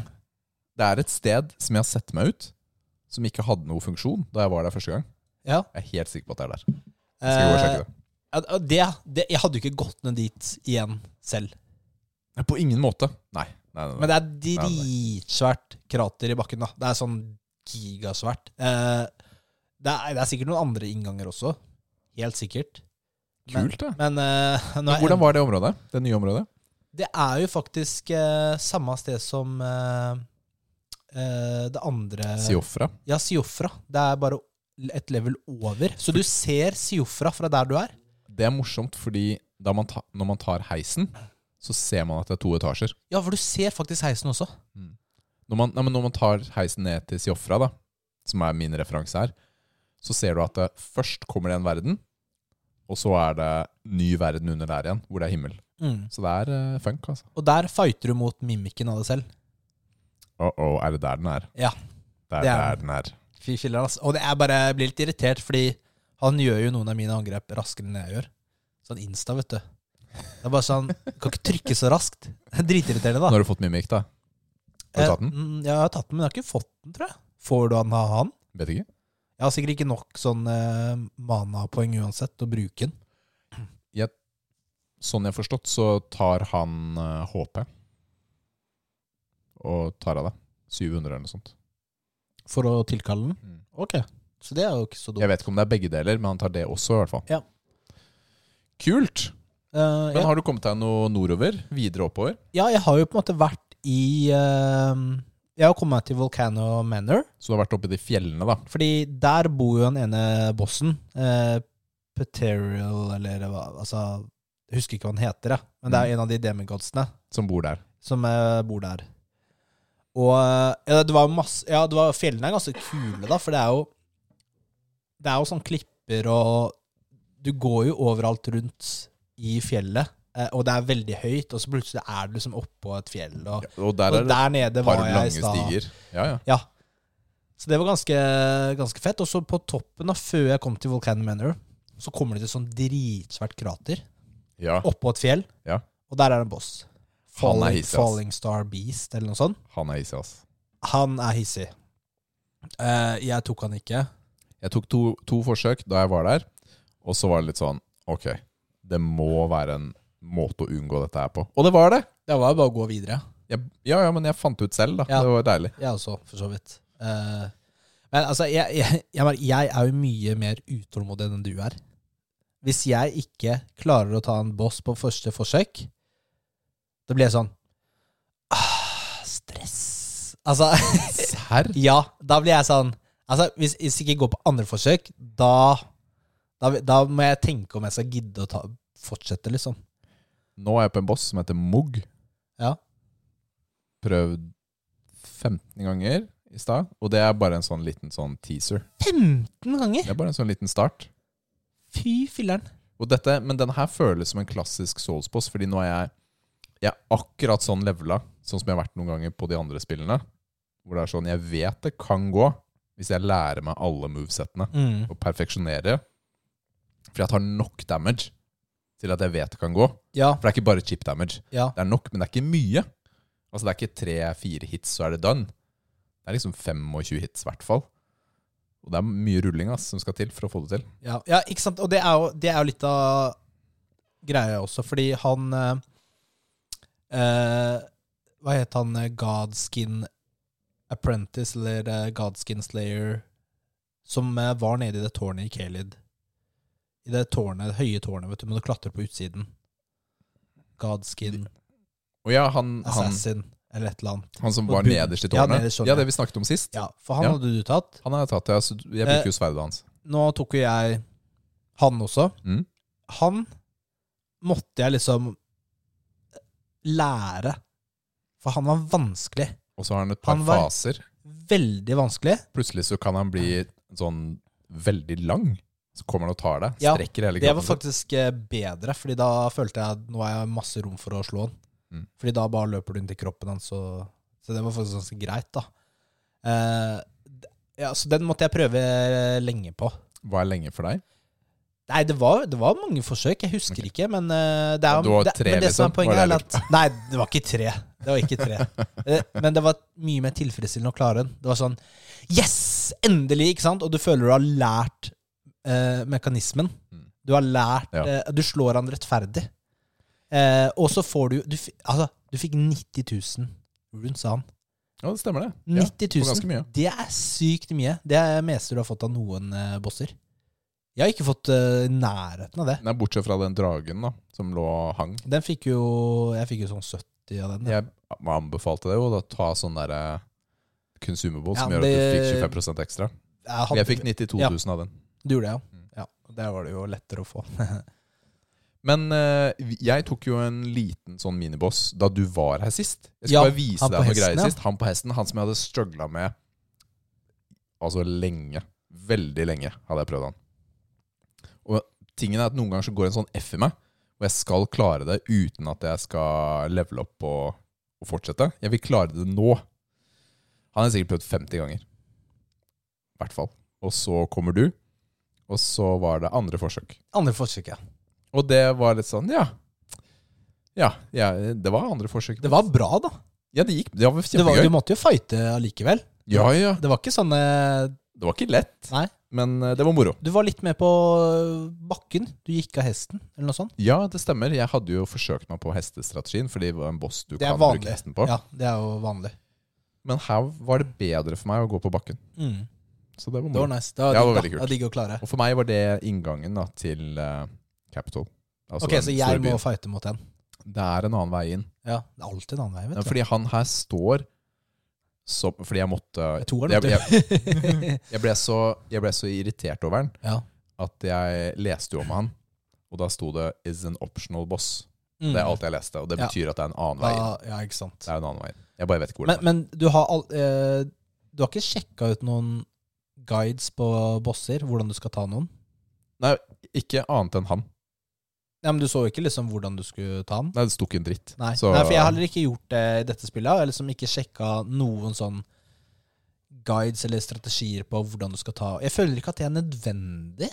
B: Det er et sted som jeg har sett meg ut, som ikke hadde noe funksjon da jeg var der første gang.
A: Ja.
B: Jeg er helt sikker på at det er der. Skal jeg gå og sjekke det?
A: Eh, ja, det, det, jeg hadde jo ikke gått ned dit igjen selv.
B: Nei, på ingen måte. Nei. nei, nei,
A: Eh, Men
B: nei.
A: det er dritsvært krater i bakken, da. Det er sånn gigasvært. Eh, det, er, det er sikkert noen andre innganger også. Helt sikkert. Men-
B: Kult, det.
A: Men, eh, nå er jeg-
B: Hvordan var det området? Det nye området?
A: Det er jo faktisk eh, samme sted som eh, eh, det andre
B: Siofra.
A: Ja, Siofra. Det er bare et level over. Så du ser Siofra fra der du er.
B: Det er morsomt, fordi da man ta, når man tar heisen, så ser man at det er to etasjer.
A: Ja, for du ser faktisk heisen også.
B: Når man, nei, men når man tar heisen ned til Siofra, da, som er min referanse her, så ser du at det, først kommer det en verden, og så er det ny verden under der igjen, hvor det er himmel.
A: Mm.
B: Så det er eh, funk, altså.
A: Og der fighter du mot mimikken av deg selv.
B: Uh-oh, er det der den er?
A: Ja.
B: Det
A: Det
B: er
A: er
B: der den er.
A: Fy filler, ass. Og det er bare, jeg blir litt irritert, fordi han gjør jo noen av mine angrep raskere enn jeg gjør. Sånn insta, vet du. Det er bare sånn Kan ikke trykke så raskt. Det er dritirriterende, da.
B: Nå har du fått mimikk, da. Har du tatt den?
A: Eh, mm, Ja, jeg har tatt den, men jeg har ikke fått den, tror jeg. Får du han av han?
B: Vet ikke.
A: Jeg har sikkert ikke nok sånn eh, mana-poeng uansett å bruke den.
B: Sånn jeg har forstått, så tar han eh, HP. Og tar av det. 700 eller noe sånt.
A: For å tilkalle den?
B: Mm.
A: Ok. Så det er jo ikke så dumt.
B: Jeg vet ikke om det er begge deler, men han tar det også, i hvert fall.
A: Ja.
B: Kult!
A: Eh,
B: Men
A: ja.
B: har du kommet deg noe nordover? Videre oppover?
A: ja, jeg har jo på en måte vært i eh, Jeg har kommet meg til Volcano Manor,
B: Så du har vært oppe i de fjellene, da.
A: fordi der bor jo den ene bossen. Uh, Peterial, eller hva Altså, jeg husker ikke hva han heter, jeg. Men det er en av de demigodsene
B: Som bor der.
A: som eh, bor der. Og ja, det var masse Ja, det var, fjellene er ganske kule, da, for det er jo Det er jo sånn klipper og Du går jo overalt rundt i fjellet, eh, og det er veldig høyt, og så plutselig er du liksom oppå et fjell, og,
B: Ja, og der
A: og
B: er det
A: der nede
B: et par
A: var jeg i
B: lange
A: stad.
B: stiger. Ja, ja.
A: Ja. Så det var ganske, ganske fett. Og så på toppen, da, før jeg kom til Volcano Manor, så kommer det til et sånn dritsvært krater
B: ja.
A: oppå et fjell,
B: Ja.
A: og der er det en boss.
B: Han er
A: Falling,
B: hissig, ass.
A: Falling Star Beast, eller noe sånt.
B: Han er hissig, ass.
A: Han er hissig. Eh, jeg tok han ikke.
B: Jeg tok to, to forsøk da jeg var der, og så var det litt sånn Ok, det må være en måte å unngå dette her på. Og det var det!
A: Det var jo bare å gå videre.
B: Jeg, ja, ja, men jeg fant det ut selv, da.
A: Ja.
B: Det var deilig.
A: Jeg også, for så vidt. Eh, men altså, jeg, jeg, jeg, bare- jeg er jo mye mer utålmodig enn du er. Hvis jeg ikke klarer å ta en boss på første forsøk, da blir jeg sånn ah, Stress. Altså
B: Serr?
A: Ja, da blir jeg sånn Altså, hvis, hvis jeg ikke går på andre forsøk, da, da Da må jeg tenke om jeg skal gidde å ta, fortsette, liksom.
B: Nå er jeg på en boss som heter Mugg.
A: Ja.
B: Prøvd 15 ganger i stad, og det er bare en sånn liten sånn teaser.
A: 15 ganger!
B: Det er bare en sånn liten start.
A: Fy filleren.
B: Og dette, men denne her føles som en klassisk Souls-boss, fordi nå er jeg, jeg er akkurat sånn levela, sånn som jeg har vært noen ganger på de andre spillene. Hvor det er sånn, jeg vet det kan gå, hvis jeg lærer meg alle movesettene,
A: Mm.
B: og perfeksjonerer. For jeg tar nok damage til at jeg vet det kan gå.
A: Ja,
B: For det er ikke bare chip damage.
A: ja.
B: Det er nok, men det er ikke mye. Altså Det er ikke tre-fire hits, så er det done. Det er liksom 25 hits, i hvert fall. Og det er mye rulling ass, som skal til for å få det til.
A: Ja, ja ikke sant? Og det er, jo, det er jo litt av greia også, fordi han eh, eh, Hva het han? eh, Godskin Apprentice, eller eh, Godskin Slayer, som eh, var nede i det tårnet i Kalid. I det tårnet, det høye tårnet, vet du, men du klatrer på utsiden. Godskin
B: Og ja, han, han,
A: Assassin, eller et eller annet.
B: han som
A: Og
B: var
A: bu-
B: nederst i
A: Ja,
B: tårnet?
A: nederst i tårnet.
B: Ja, det vi snakket om sist.
A: Ja, for han
B: Ja.
A: hadde du tatt.
B: Han har jeg tatt, ja, så jeg
A: Eh,
B: bruker jo sverdet hans.
A: Nå tok jo jeg han også.
B: Mm.
A: han måtte jeg liksom lære. For han var vanskelig.
B: Og så har han et par
A: han var-
B: faser.
A: Veldig vanskelig.
B: Plutselig så kan han bli sånn veldig lang. Så kommer han og tar deg.
A: Ja,
B: Strekker hele
A: Det var
B: kroppen. sin.
A: faktisk eh, bedre, Fordi da følte jeg at nå har jeg masse rom for å slå han.
B: Mm.
A: Fordi da bare løper du inn til kroppen hans, og så det var faktisk ganske greit, da. Eh, d- ja, så den måtte jeg prøve eh, lenge på.
B: Hva er lenge for deg?
A: Nei, det var, det var mange forsøk, jeg husker ikke, men eh, det er
B: Du var
A: det,
B: tre,
A: men det som
B: liksom?
A: er poenget,
B: Var
A: er
B: det
A: at Nei, det var ikke tre. Det var ikke tre. Eh, men det var mye mer tilfredsstillende å klare den. Det var sånn Yes! Endelig! ikke sant? Og du føler du har lært eh, mekanismen.
B: Mm.
A: Du har lært
B: Ja.
A: eh, Du slår han rettferdig. Eh, og så får du du, fi- altså, du fikk 90 000 runes av han.
B: Ja, det stemmer, det.
A: 90
B: Ja, for
A: 000.
B: ganske mye.
A: Det er sykt mye. Det er det meste du har fått av noen eh, bosser. Jeg har ikke fått eh, nærheten av det.
B: Nei, bortsett fra den dragen da, som lå og hang.
A: Den fikk jo Jeg fikk jo sånn 70 av den.
B: Jeg anbefalte det jo da, ta sånn der eh, consumable som
A: Ja,
B: gjør
A: det-
B: at du fikk 25 ekstra.
A: Jeg,
B: Jeg
A: hadde,
B: fikk 92
A: Ja.
B: 000 av den.
A: Du gjorde det,
B: Mm.
A: ja. ja. og Der var det jo lettere å få.
B: Men eh, vi- jeg tok jo en liten sånn miniboss da du var her sist. Jeg skal
A: Ja,
B: bare vise
A: han
B: deg
A: på
B: noe greier
A: hesten, ja.
B: sist. Han på hesten, han som jeg hadde struggla med Altså lenge. Veldig lenge hadde jeg prøvd han. Og tingen er at noen ganger så går en sånn F i meg, og jeg skal klare det uten at jeg skal levele opp og, og fortsette. Jeg vil klare det nå. Han har jeg sikkert prøvd 50 ganger. I hvert fall. Og så kommer du, og så var det andre forsøk.
A: Andre forsøk, ja.
B: Og det var litt sånn, ja. Ja, ja det var andre forsøk.
A: Det var bra, da.
B: ja, det gikk. Det var
A: Det var,
B: kjempegøy.
A: du måtte jo fighte allikevel.
B: ja, ja.
A: Det var ikke sånn eh,
B: Det var ikke lett,
A: Nei.
B: men eh, det var moro.
A: Du var litt med på bakken. Du gikk av hesten, eller noe sånt.
B: Ja, det stemmer. Jeg hadde jo forsøkt meg på hestestrategien, fordi det var en boss du
A: Det er
B: kan
A: vanlig.
B: bruke hesten på.
A: Ja, det er jo vanlig.
B: Men her var det bedre for meg å gå på bakken.
A: Mm.
B: Så det var
A: Det
B: moro.
A: var nice. Det var,
B: Ja, det
A: digg,
B: var veldig
A: da.
B: kult.
A: Det var digg å klare.
B: Og for meg var det inngangen da, til eh, Capitol. Altså
A: Ok,
B: den
A: så
B: store
A: jeg må
B: byen.
A: fighte mot den.
B: Det er en annen vei inn.
A: Ja, det er alltid en annen vei,
B: Ja,
A: vet du.
B: fordi han her står som Fordi jeg måtte
A: Jeg tror
B: jeg,
A: den,
B: jeg,
A: vet du.
B: jeg, ble så, jeg ble så irritert over den.
A: Ja.
B: at jeg leste jo om han, og da sto det 'is an optional boss'.
A: Mm.
B: Det er alt jeg leste, og det
A: Ja.
B: betyr at det er en annen vei. inn.
A: Ja, ja, ikke sant.
B: Det er en annen vei. inn. Jeg bare vet ikke hvor
A: Men,
B: den er.
A: men du har all, eh, Du har ikke sjekka ut noen guides på bosser? Hvordan du skal ta noen?
B: Ikke annet enn han.
A: Nei, men Du så ikke liksom hvordan du skulle ta den?
B: Nei, det sto ikke en dritt.
A: Nei,
B: Så-
A: Nei for jeg har heller ikke gjort det i dette spillet. Jeg har liksom ikke sjekka noen sånn guides eller strategier på hvordan du skal ta Jeg føler ikke at det er nødvendig.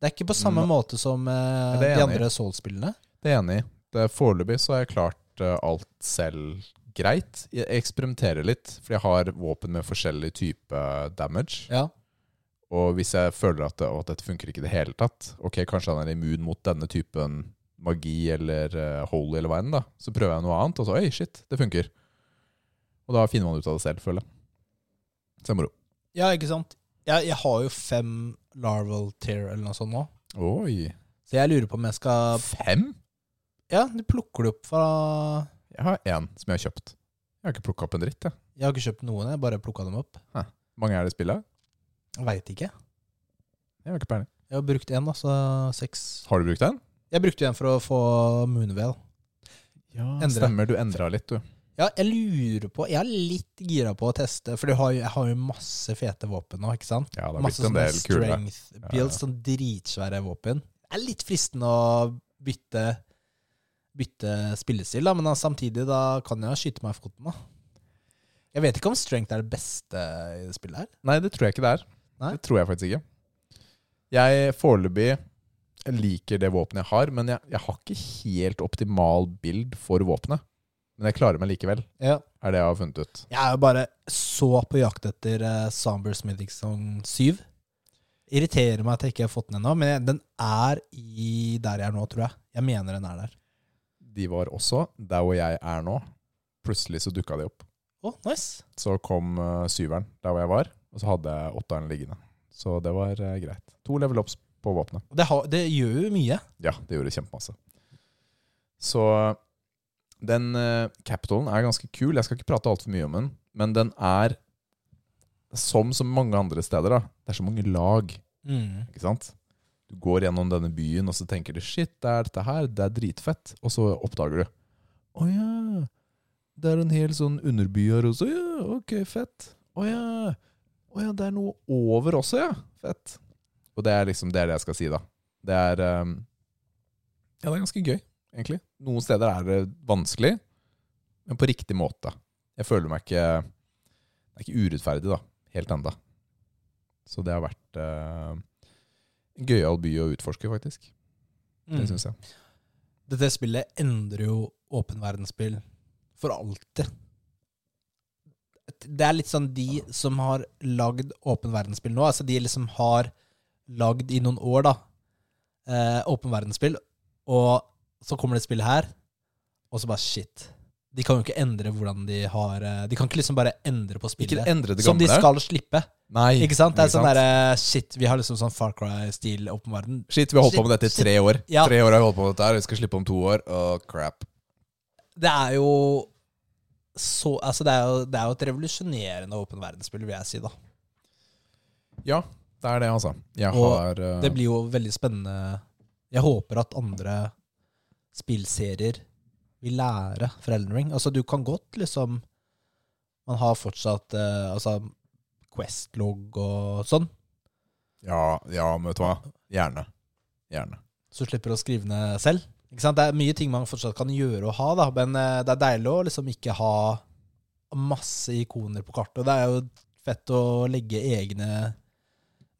A: Det er ikke på samme
B: Nei.
A: måte som eh,
B: det er
A: de
B: jeg enig i.
A: andre Soul-spillene.
B: Det er jeg enig i. Det er Foreløpig så har jeg klart eh, alt selv greit. Jeg eksperimenterer litt, for jeg har våpen med forskjellig type damage.
A: Ja.
B: Og hvis jeg føler at, det, å, dette funker ikke i det hele tatt, ok, kanskje han er immun mot denne typen magi eller eh, holy eller hva enn, da, så prøver jeg noe annet, og så oi, shit, det funker. Og da finner man ut av det selv, føler jeg. Så det er moro.
A: ja, ikke sant? Jeg, jeg har jo fem larval tear eller noe sånt nå.
B: Oi.
A: Så jeg lurer på om jeg skal
B: Fem?
A: Ja, du plukker det opp fra
B: Jeg har én som jeg har kjøpt. Jeg har ikke plukka opp en dritt, jeg.
A: Jeg har ikke kjøpt noen, jeg bare plukka dem opp.
B: Hvor mange er det i spillet?
A: Jeg Veit ikke.
B: Jeg har ikke peiling.
A: Jeg har brukt én, da, så seks.
B: Har du brukt den?
A: Jeg brukte en for å få Moonvale.
B: Ja,
A: Endre.
B: Stemmer, du endra litt, du.
A: Ja, jeg lurer på Jeg er litt gira på å teste, for jeg har, jo- jeg har jo masse fete våpen nå, ikke sant?
B: Ja, det har
A: Masse
B: blitt en
A: sånne
B: del kule.
A: strength builds, sånn dritsvære våpen. Det er litt fristende å bytte Bytte spillestil, da, men da, samtidig da kan jeg skyte meg i foten, da. Jeg vet ikke om strength er det beste i det spillet her.
B: Nei, det tror jeg ikke det er.
A: Nei?
B: Det tror jeg faktisk ikke. Jeg foreløpig liker det våpenet jeg har, men jeg, jeg har ikke helt optimal bild for våpenet. Men jeg klarer meg likevel,
A: Ja.
B: er det jeg har funnet ut.
A: Jeg er jo bare så på jakt etter uh, Somber Smithingson 7. Irriterer meg at jeg ikke har fått den ennå, men jeg, den er i der jeg er nå, tror jeg. Jeg mener den er der.
B: De var også der hvor jeg er nå. Plutselig så dukka de opp.
A: Å, nice.
B: Så kom eh, syveren der hvor jeg var, og så hadde jeg åtteren liggende. Så det var eh, greit. To level ups på våpenet.
A: Det, har, det gjør jo mye.
B: Ja, det gjorde kjempemasse. Så den eh, Capitalen er ganske kul. Jeg skal ikke prate altfor mye om den, men den er som så mange andre steder. da. Det er så mange lag,
A: Mm. Mhm.
B: ikke sant? Du går gjennom denne byen, og så tenker du shit, det er dette her, det er dritfett. Og så oppdager du å ja, det er en hel sånn underby her også, ja, ok, fett. Å ja, å ja, det er noe over også, ja, fett. Og det er liksom det, er det jeg skal si, da. Det er eh, ja, det er ganske gøy, egentlig. Noen steder er det vanskelig, men på riktig måte. Jeg føler meg ikke Det er ikke urettferdig, da. Helt enda. Så det har vært eh, en gøyal by å utforske, faktisk.
A: Mm.
B: Det syns jeg.
A: Dette spillet endrer jo åpen verdensspill for alltid. Det er litt sånn de som har lagd åpen verdensspill nå, altså de liksom har lagd i noen år, da, eh, åpen verdensspill, og så kommer det et spill her, og så bare shit. De kan jo ikke endre hvordan de har eh, De kan ikke liksom bare endre på
B: Ikke
A: spillet.
B: endre det
A: Som de
B: gamle.
A: skal slippe.
B: Nei,
A: Ikke sant? Det er
B: ikke
A: sånn
B: sant?
A: derre Shit, vi har liksom sånn Far Cry-stil åpen verden.
B: Shit, vi har holdt på med
A: Shit,
B: dette i tre år.
A: Ja.
B: Tre år har vi holdt på med dette her, vi skal slippe om to år. Åh, crap.
A: Det er jo så Altså, det er jo, det er jo et revolusjonerende åpen verdensspill, vil jeg si, da.
B: Ja, det er det, altså. Jeg
A: Og
B: har eh,
A: Det blir jo veldig spennende. Jeg håper at andre spillserier vil lære fra Elden Ring. Altså, du kan godt liksom Man har fortsatt eh, altså Quest-logg og sånn.
B: ja, ja, men vet du hva. Gjerne. Gjerne.
A: så du slipper å skrive ned selv. Ikke sant? Det er mye ting man fortsatt kan gjøre og ha, da, men eh, det er deilig å liksom ikke ha masse ikoner på kartet. Og det er jo fett å legge egne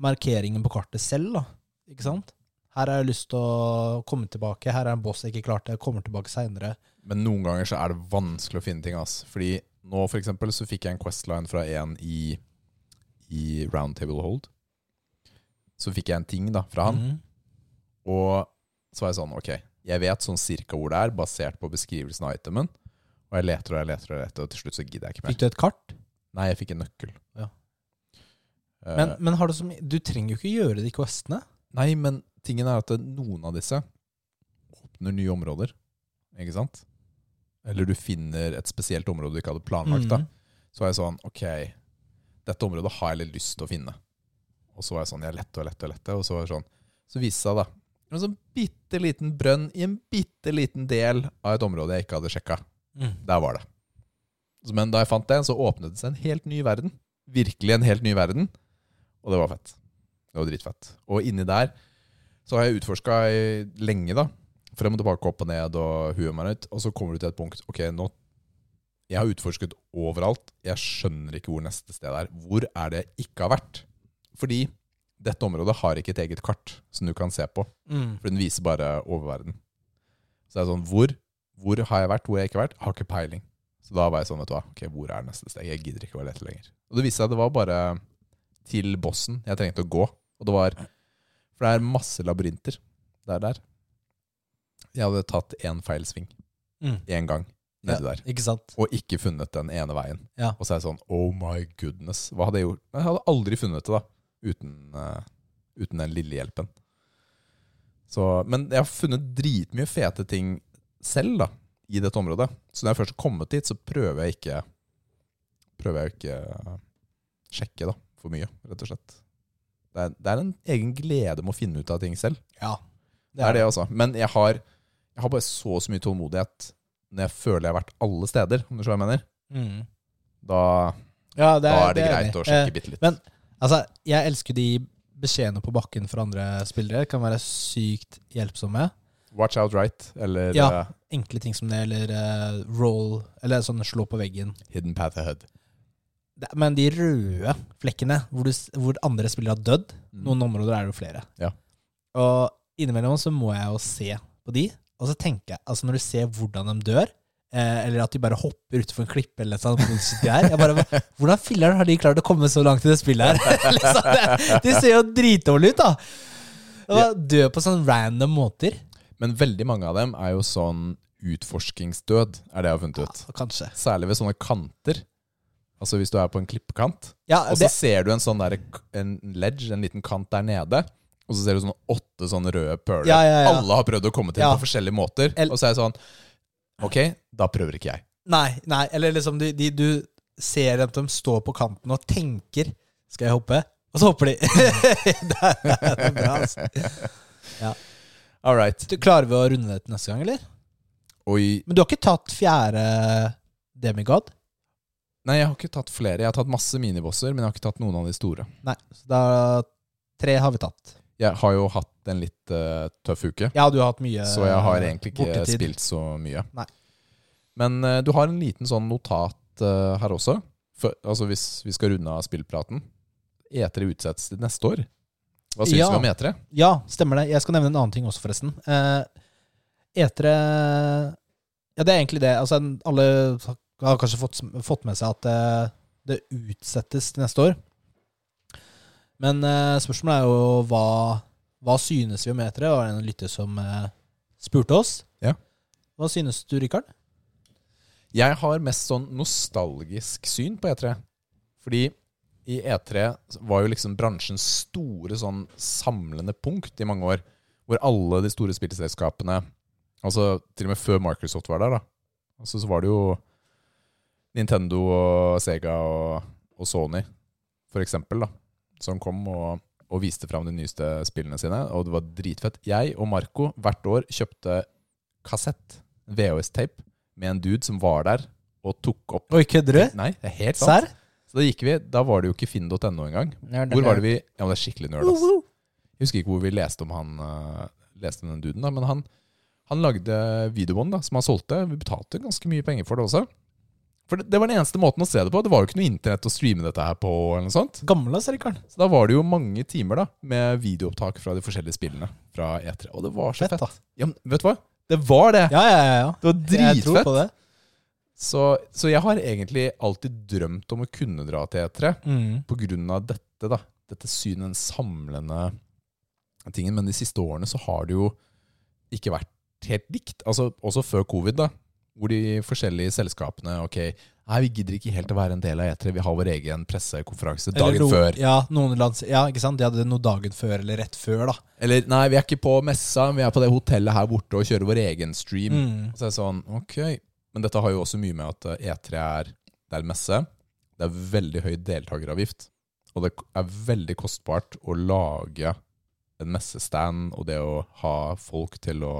A: markeringer på kartet selv, da. Ikke sant? Her har jeg lyst til å komme tilbake. Her er en boss jeg ikke klarte. Jeg kommer tilbake seinere.
B: Men noen ganger så er det vanskelig å finne ting. Ass. Fordi nå for eksempel så fikk jeg en questline fra en i, i Roundtable Hold. Så fikk jeg en ting da fra han,
A: Mm.
B: og så var jeg sånn Ok, jeg vet sånn cirka hvor det er, basert på beskrivelsen av itemen. Og jeg leter og jeg leter, og jeg leter og til slutt så gidder jeg ikke mer.
A: Fikk du et kart?
B: Nei, jeg fikk en nøkkel.
A: Ja.
B: Eh,
A: Men, men har du, så mye- du trenger jo ikke gjøre de questene.
B: nei, men tingen er at noen av disse åpner nye områder, ikke sant? Eller du finner et spesielt område du ikke hadde planlagt. da
A: Mm.
B: Så var jeg sånn, ok, dette området har jeg litt lyst til å finne. Og så var jeg sånn, jeg lette og lette og lette, og så var det sånn. Så viste det seg da, en sånn bitte liten brønn i en bitte liten del av et område jeg ikke hadde sjekka.
A: Mm.
B: Der var det. Så- Men da jeg fant det, så åpnet det seg en helt ny verden. Virkelig en helt ny verden. Og det var fett. Det var dritfett. Og inni der så har jeg utforska lenge, da. Frem og tilbake, opp og ned og huet meg rundt. Og så kommer du til et punkt Ok, nå Jeg har utforsket overalt. Jeg skjønner ikke hvor neste sted er. Hvor er det jeg ikke har vært? Fordi dette området har ikke et eget kart som du kan se på.
A: Mm.
B: For den viser bare oververden. Så det er sånn, hvor, hvor har jeg vært, hvor har jeg ikke vært? Har ikke peiling. Så da var jeg sånn, vet du hva, ok, hvor er neste steg? Jeg gidder ikke å lete lenger. Og det viste seg at det var bare til bossen jeg trengte å gå. Og det var, for det er masse labyrinter der der. Jeg hadde tatt en feil sving,
A: Mm.
B: en gang, nedi der.
A: Ikke sant?
B: Og ikke funnet den ene veien.
A: Ja.
B: Og så er jeg sånn, oh my goodness, hva hadde jeg gjort? Jeg hadde aldri funnet det da, uten, eh, uten den lille hjelpen. Så, men jeg har funnet dritmye fete ting selv da, i dette området. Så når jeg først har kommet dit, så prøver jeg ikke prøver jeg ikke eh, sjekke da, for mye, rett og slett. Det er, det er en egen glede med å finne ut av ting selv.
A: Ja.
B: Det er det, altså. Men jeg har, jeg har bare så, så mye tålmodighet når jeg føler jeg har vært alle steder, om du skjønner hva jeg mener.
A: Mm.
B: Da,
A: Ja, det
B: da er det,
A: jeg enig i.
B: greit å sjekke
A: Eh,
B: bitte litt.
A: men- Altså, jeg elsker de beskjedene på bakken for andre spillere. Kan være sykt hjelpsomme.
B: Watch out right, eller
A: Ja.
B: eh,
A: Enkle ting som det, eller eh, roll, eller sånn slå på veggen.
B: hidden path ahead.
A: Det- Men de røde flekkene, hvor, du, s- hvor andre spillere har dødd Noen områder er det jo flere.
B: Mm. Ja.
A: Og innimellom så må jeg jo se på de, og så tenker jeg Altså, når du ser hvordan de dør, eh, eller at de bare hopper utfor en klippe eller noe sånt shit der, jeg bare, Hvordan filler'n har de klart å komme så langt i det spillet her? liksom, det, de ser jo dritdårlige ut, da! Og Dø på sånne random måter.
B: Men veldig mange av dem er jo sånn utforskingsdød, er det jeg har funnet ut.
A: Ja, kanskje.
B: Særlig ved sånne kanter. Altså hvis du er på en klippekant,
A: Ja,
B: og så
A: det,
B: ser du en sånn der, en ledge, en liten kant der nede, og så ser du sånn åtte sånne røde pøler.
A: Ja, ja, ja.
B: Alle har prøvd å komme til
A: Ja.
B: på forskjellige måter,
A: El-
B: og så er jeg sånn Ok, da prøver ikke jeg.
A: nei, nei, eller liksom de, de, Du ser at de står på kanten og tenker 'Skal jeg hoppe?' Og så hopper de. det, er, det er bra, altså.
B: All right.
A: Du, klarer vi å runde det til neste gang, eller?
B: Oi.
A: Men du har ikke tatt fjerde demigod?
B: Nei, jeg har ikke tatt flere. Jeg har tatt masse minibosser, men jeg har ikke tatt noen av de store.
A: Nei. Så da tre har vi tatt.
B: Jeg har jo hatt en litt eh, tøff uke,
A: Ja, du har hatt mye
B: så jeg har egentlig ikke
A: Eh, bortetid.
B: spilt så mye.
A: Nei.
B: Men eh, du har en liten sånn notat eh, her også, for, altså hvis vi skal runde av spillpraten. E3 utsettes til neste år. Hva syns
A: Ja.
B: vi om E E3?
A: Ja, stemmer det. Jeg skal nevne en annen ting også, forresten. Eh, etere Ja, det er egentlig det. Altså, en- alle har kanskje fått, fått med seg at eh, det utsettes til neste år. Men eh, spørsmålet er jo hva, hva synes vi om etere? Det var en lytter som eh, spurte oss.
B: Ja.
A: Hva synes du, Rikard?
B: Jeg har mest sånn nostalgisk syn på E3. Fordi i E3 var jo liksom bransjens store sånn samlende punkt i mange år. Hvor alle de store spillselskapene Altså til og med før Microsoft var der, da. Altså så var det jo Nintendo og Sega og, og Sony, for eksempel, da. Som kom og, og viste fram de nyeste spillene sine, og det var dritfett. Jeg og Marco hvert år kjøpte kassett, VHS-tape, med en dude som var der og tok opp
A: Oi, kødder
B: Nei, det er helt sant.
A: Serr?
B: Så da gikk vi, da var det jo ikke finn.no engang. Hvor var det vi Ja, men det er skikkelig nerd, ass. Jeg husker ikke hvor vi leste om han eh, Leste om den duden, da, men han Han lagde videobånd da, som han solgte. Vi betalte ganske mye penger for det også. For det, det var den eneste måten å se det på. Det var jo ikke noe internett å streame dette her på. eller noe sånt.
A: Gamle, sa Rikard.
B: Så da var det jo mange timer da, med videoopptak fra de forskjellige spillene fra E3. Og det var så
A: Fett,
B: fett.
A: da.
B: Ja, men vet du hva? Det var det!
A: Ja, ja, ja. ja.
B: Det var
A: Jeg tror
B: dritfett!
A: på det.
B: Så, så jeg har egentlig alltid drømt om å kunne dra til E3
A: Mm.
B: på grunn av dette, da, dette synet, den samlende tingen, men de siste årene så har det jo ikke vært helt likt. Altså, også før covid, da, hvor de forskjellige selskapene ok, nei, vi gidder ikke helt å være en del av E3, vi har vår egen pressekonferanse
A: Eller
B: dagen
A: noen-
B: før.
A: Ja, noen lands, ja, ikke sant? De hadde noe dagen før eller rett før, da.
B: Eller nei, vi er ikke på messa, vi er på det hotellet her borte og kjører vår egen stream.
A: Mm.
B: Og så er det sånn, ok. Men dette har jo også mye med at eh, E3 er, det er en messe. Det er veldig høy deltakeravgift. Og det er veldig kostbart å lage en messestand og det å ha folk til å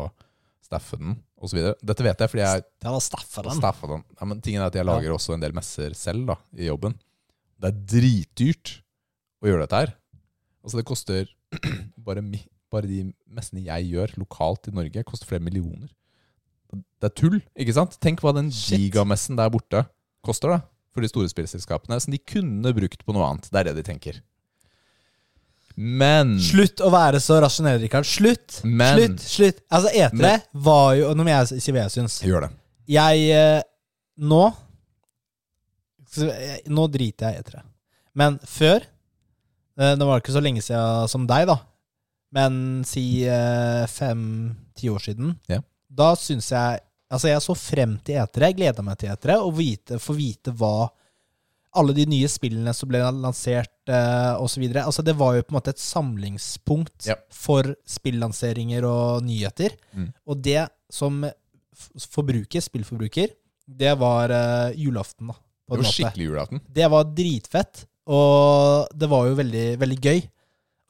B: staffe den osv. Dette vet jeg fordi jeg
A: Det var staffa den.
B: staffa den. Ja, men tingen er at jeg lager også en del messer selv da, i jobben. Det er dritdyrt å gjøre dette her. Altså det koster bare, mi- bare de messene jeg gjør lokalt i Norge, koster flere millioner. Det er tull, ikke sant? Tenk hva den
A: Shit.
B: gigamessen der borte koster da, for de store spillselskapene, som de kunne brukt på noe annet. Det er det de tenker. Men
A: Slutt å være så rasjonell, Rikard. Slutt!
B: Mm. Men-
A: slutt! slutt Altså, etere
B: Men-
A: var jo Nå må jeg si hva jeg syns.
B: Gjør det.
A: Jeg eh, Nå så jeg- Nå driter jeg i E etere. Men før eh, Det var ikke så lenge siden som deg, da. Men si fem-ti år siden.
B: Ja.
A: Da syns jeg Altså, jeg så frem til etere. Jeg gleda meg til etere og vite, få vite hva alle de nye spillene som ble lansert eh, og osv. Altså, det var jo på en måte et samlingspunkt
B: Ja.
A: for spillanseringer og nyheter.
B: Mm.
A: Og det som f- forbruker, spillforbruker, det var eh, julaften, da. på en
B: Det var
A: måte.
B: skikkelig julaften.
A: Det var dritfett, og det var jo veldig, veldig gøy.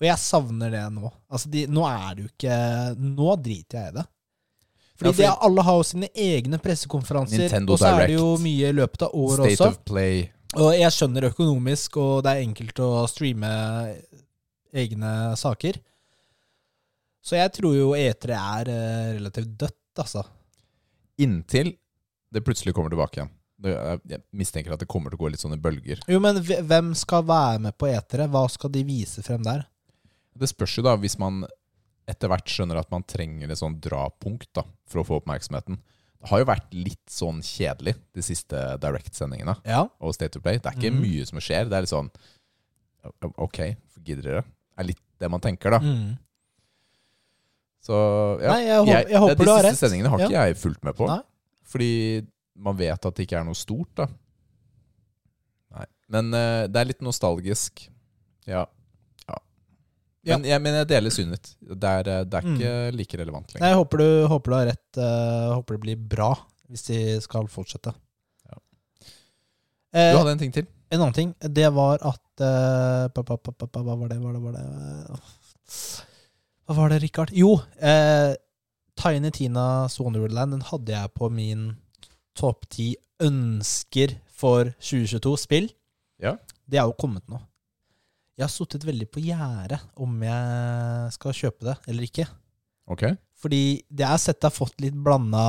A: Og jeg savner det nå. Altså, de, nå er det jo ikke Nå driter jeg i det. Fordi,
B: Ja, fordi-
A: det, alle har jo sine egne pressekonferanser,
B: Nintendo
A: og så er det jo
B: Direct.
A: mye i løpet av året
B: State
A: også.
B: of play.
A: Og jeg skjønner økonomisk, og det er enkelt å streame egne saker. Så jeg tror jo E3 er eh, relativt dødt, altså.
B: Inntil det plutselig kommer tilbake igjen. Det- Jeg jeg mistenker at det kommer til å gå litt sånn i bølger.
A: Jo, men hve- hvem skal være med på E3? Hva skal de vise frem der?
B: Det spørs jo da hvis man etter hvert skjønner at man trenger et sånn drapunkt da, for å få oppmerksomheten. Det har jo vært litt sånn kjedelig de siste Direct-sendingene
A: Ja.
B: og State of Play. Det er ikke
A: Mhm.
B: mye som skjer. Det er litt sånn Ok, gidder dere? Det er litt det man tenker, da.
A: Mm.
B: Så ja.
A: Nei, jeg, håper- jeg håper
B: de
A: du har
B: siste
A: rett.
B: sendingene har
A: Ja.
B: ikke jeg fulgt med på.
A: Nei.
B: Fordi man vet at det ikke er noe stort, da. Nei. Men eh, det er litt nostalgisk. Ja. ja.
A: Ja. Mm.
B: Men, jeg, men jeg deler synet ditt. Det er, eh, det er ikke like relevant
A: Nei,
B: lenger.
A: jeg håper du, håper du har rett. eh, håper det blir bra hvis de skal fortsette.
B: Ja.
A: Eh,
B: Du hadde en ting til.
A: En annen ting, det var at eh, pa, pa, pa, pa, pa, Hva var det, hva var det, hva var det Åh. Hva var det, Rikard? Jo, eh, Tiny Tinas Wonderland den hadde jeg på min topp ti ønsker for 2022 spill.
B: Ja.
A: Det er jo kommet nå. Jeg har sittet veldig på gjerdet om jeg skal kjøpe det eller ikke.
B: Ok.
A: Fordi det jeg har sett har fått litt blanda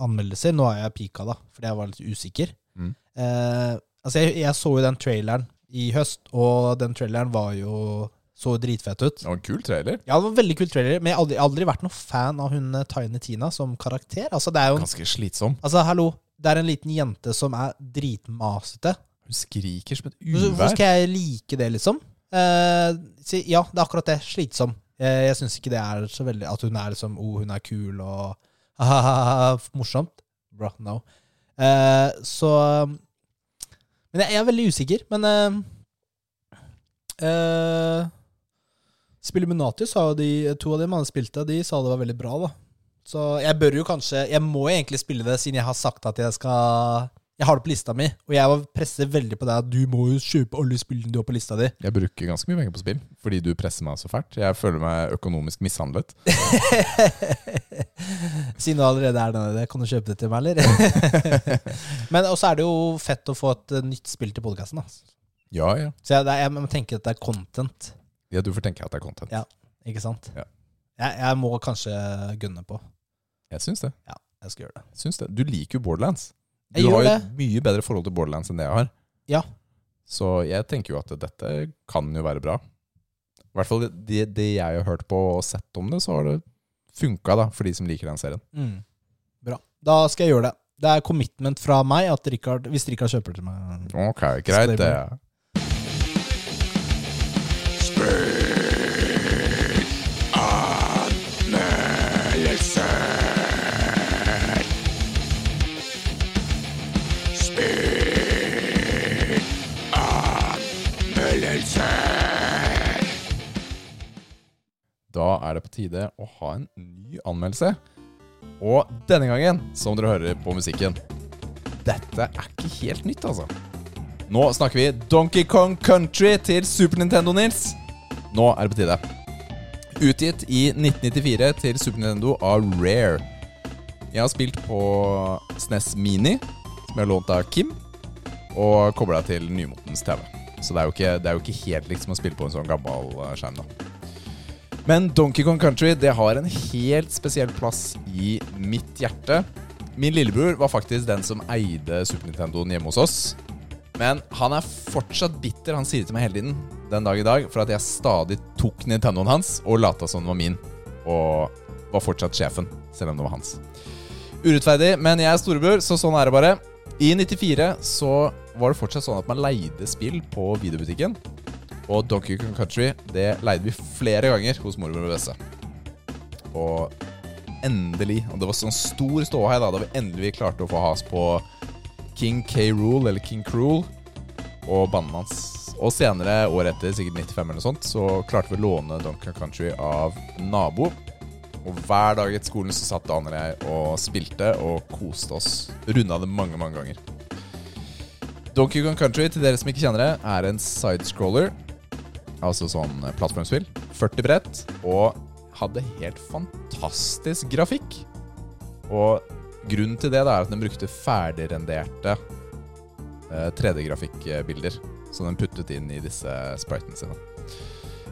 A: anmeldelser. Nå har jeg pika, da, fordi jeg var litt usikker.
B: Mm.
A: Eh, altså, jeg, jeg så jo den traileren i høst, og den traileren var jo så dritfett ut.
B: Det var en kul trailer.
A: Ja, det var en veldig kul trailer, men jeg har aldri, aldri vært noen fan av hun eh, Tiny Tina som karakter. Altså, det er jo en,
B: Ganske slitsom.
A: altså, hallo, det er en liten jente som er dritmasete.
B: Hun skriker som et
A: Hvorfor
B: uvær.
A: skal jeg like det, liksom? Eh, si, ja, det er akkurat det. Slitsom. Eh, jeg syns ikke det er så veldig At hun er liksom oh, hun er kul og ah, morsomt. Bro, no. Eh, så Men jeg, jeg er veldig usikker. Men eh, eh, Spilluminati sa jo de to av dem han spilte, de sa det var veldig bra, da. Så jeg bør jo kanskje Jeg må jo egentlig spille det, siden jeg har sagt at jeg skal Jeg har det på lista mi, og jeg var- presser veldig på deg at du må jo kjøpe alle spillene du har på lista di.
B: Jeg bruker ganske mye penger på spill fordi du presser meg så fælt. Jeg føler meg økonomisk mishandlet.
A: Siden du allerede er der nede, kan du kjøpe det til meg, eller? Men også er det jo fett å få et eh, nytt spill til podkasten, da.
B: Ja, ja.
A: Så jeg, det er- jeg må tenke at det er content,
B: ja du får tenke at det er content.
A: Ja. ikke sant?
B: Ja.
A: Jeg, jeg må kanskje gunne på.
B: Jeg syns det.
A: Jeg skal gjøre det.
B: Syns det. Du liker jo Borderlands. Du
A: Jeg
B: har
A: gjør
B: jo
A: det.
B: et mye bedre forhold til Borderlands enn det jeg har.
A: Ja.
B: Så jeg tenker jo at dette kan jo være bra. I hvert fall det, det jeg har hørt på og sett om det, så har det funka da, for de som liker den serien.
A: Mm. Bra. Da skal jeg gjøre det. Det er commitment fra meg at Richard, hvis Richard kjøper til meg
B: Ok, greit det. Da er det på tide å ha en ny anmeldelse. Og denne gangen, som dere hører på musikken Dette er ikke helt nytt, altså. Nå snakker vi Donkey Kong Country til Super Nintendo, Nils. Nå er det på tide. Utgitt i 1994 til Super Nintendo av Rare. Jeg har spilt på SNES Mini, som jeg har lånt av Kim, og kobla til nymotens TV. Så det er, jo ikke, det er jo ikke helt likt som å spille på en sånn gammel eh, skjerm, da. Men Donkey Kong Country det har en helt spesiell plass i mitt hjerte. Min lillebror var faktisk den som eide Super Nintendoen hjemme hos oss. Men han er fortsatt bitter, han sier det til meg hele tiden, den dag i dag, for at jeg stadig tok Nintendoen hans og lata som den var min. Og var fortsatt sjefen, selv om det var hans. Urettferdig, men jeg er storebror, så sånn er det bare. I 94 så var det fortsatt sånn at man leide spill på videobutikken. Og Donkey Kong Country det leide vi flere ganger hos mormor og beste. Og endelig Og det var sånn stor ståhei da, da vi endelig klarte å få has på King K. Rule, eller King Cruel, og banen hans. Og senere, året etter, sikkert 95 eller noe sånt, så klarte vi å låne Donkey Kong Country av en nabo. Og hver dag etter skolen så satt Dan og jeg og spilte og koste oss. Runda det mange, mange ganger. Donkey Kong Country, til dere som ikke kjenner det, er en sidescroller. Altså sånn plattformspill. 40 brett. Og hadde helt fantastisk grafikk. Og grunnen til det da, er at den brukte ferdigrenderte eh, 3D-grafikkbilder. Som den puttet inn i disse spritene sine.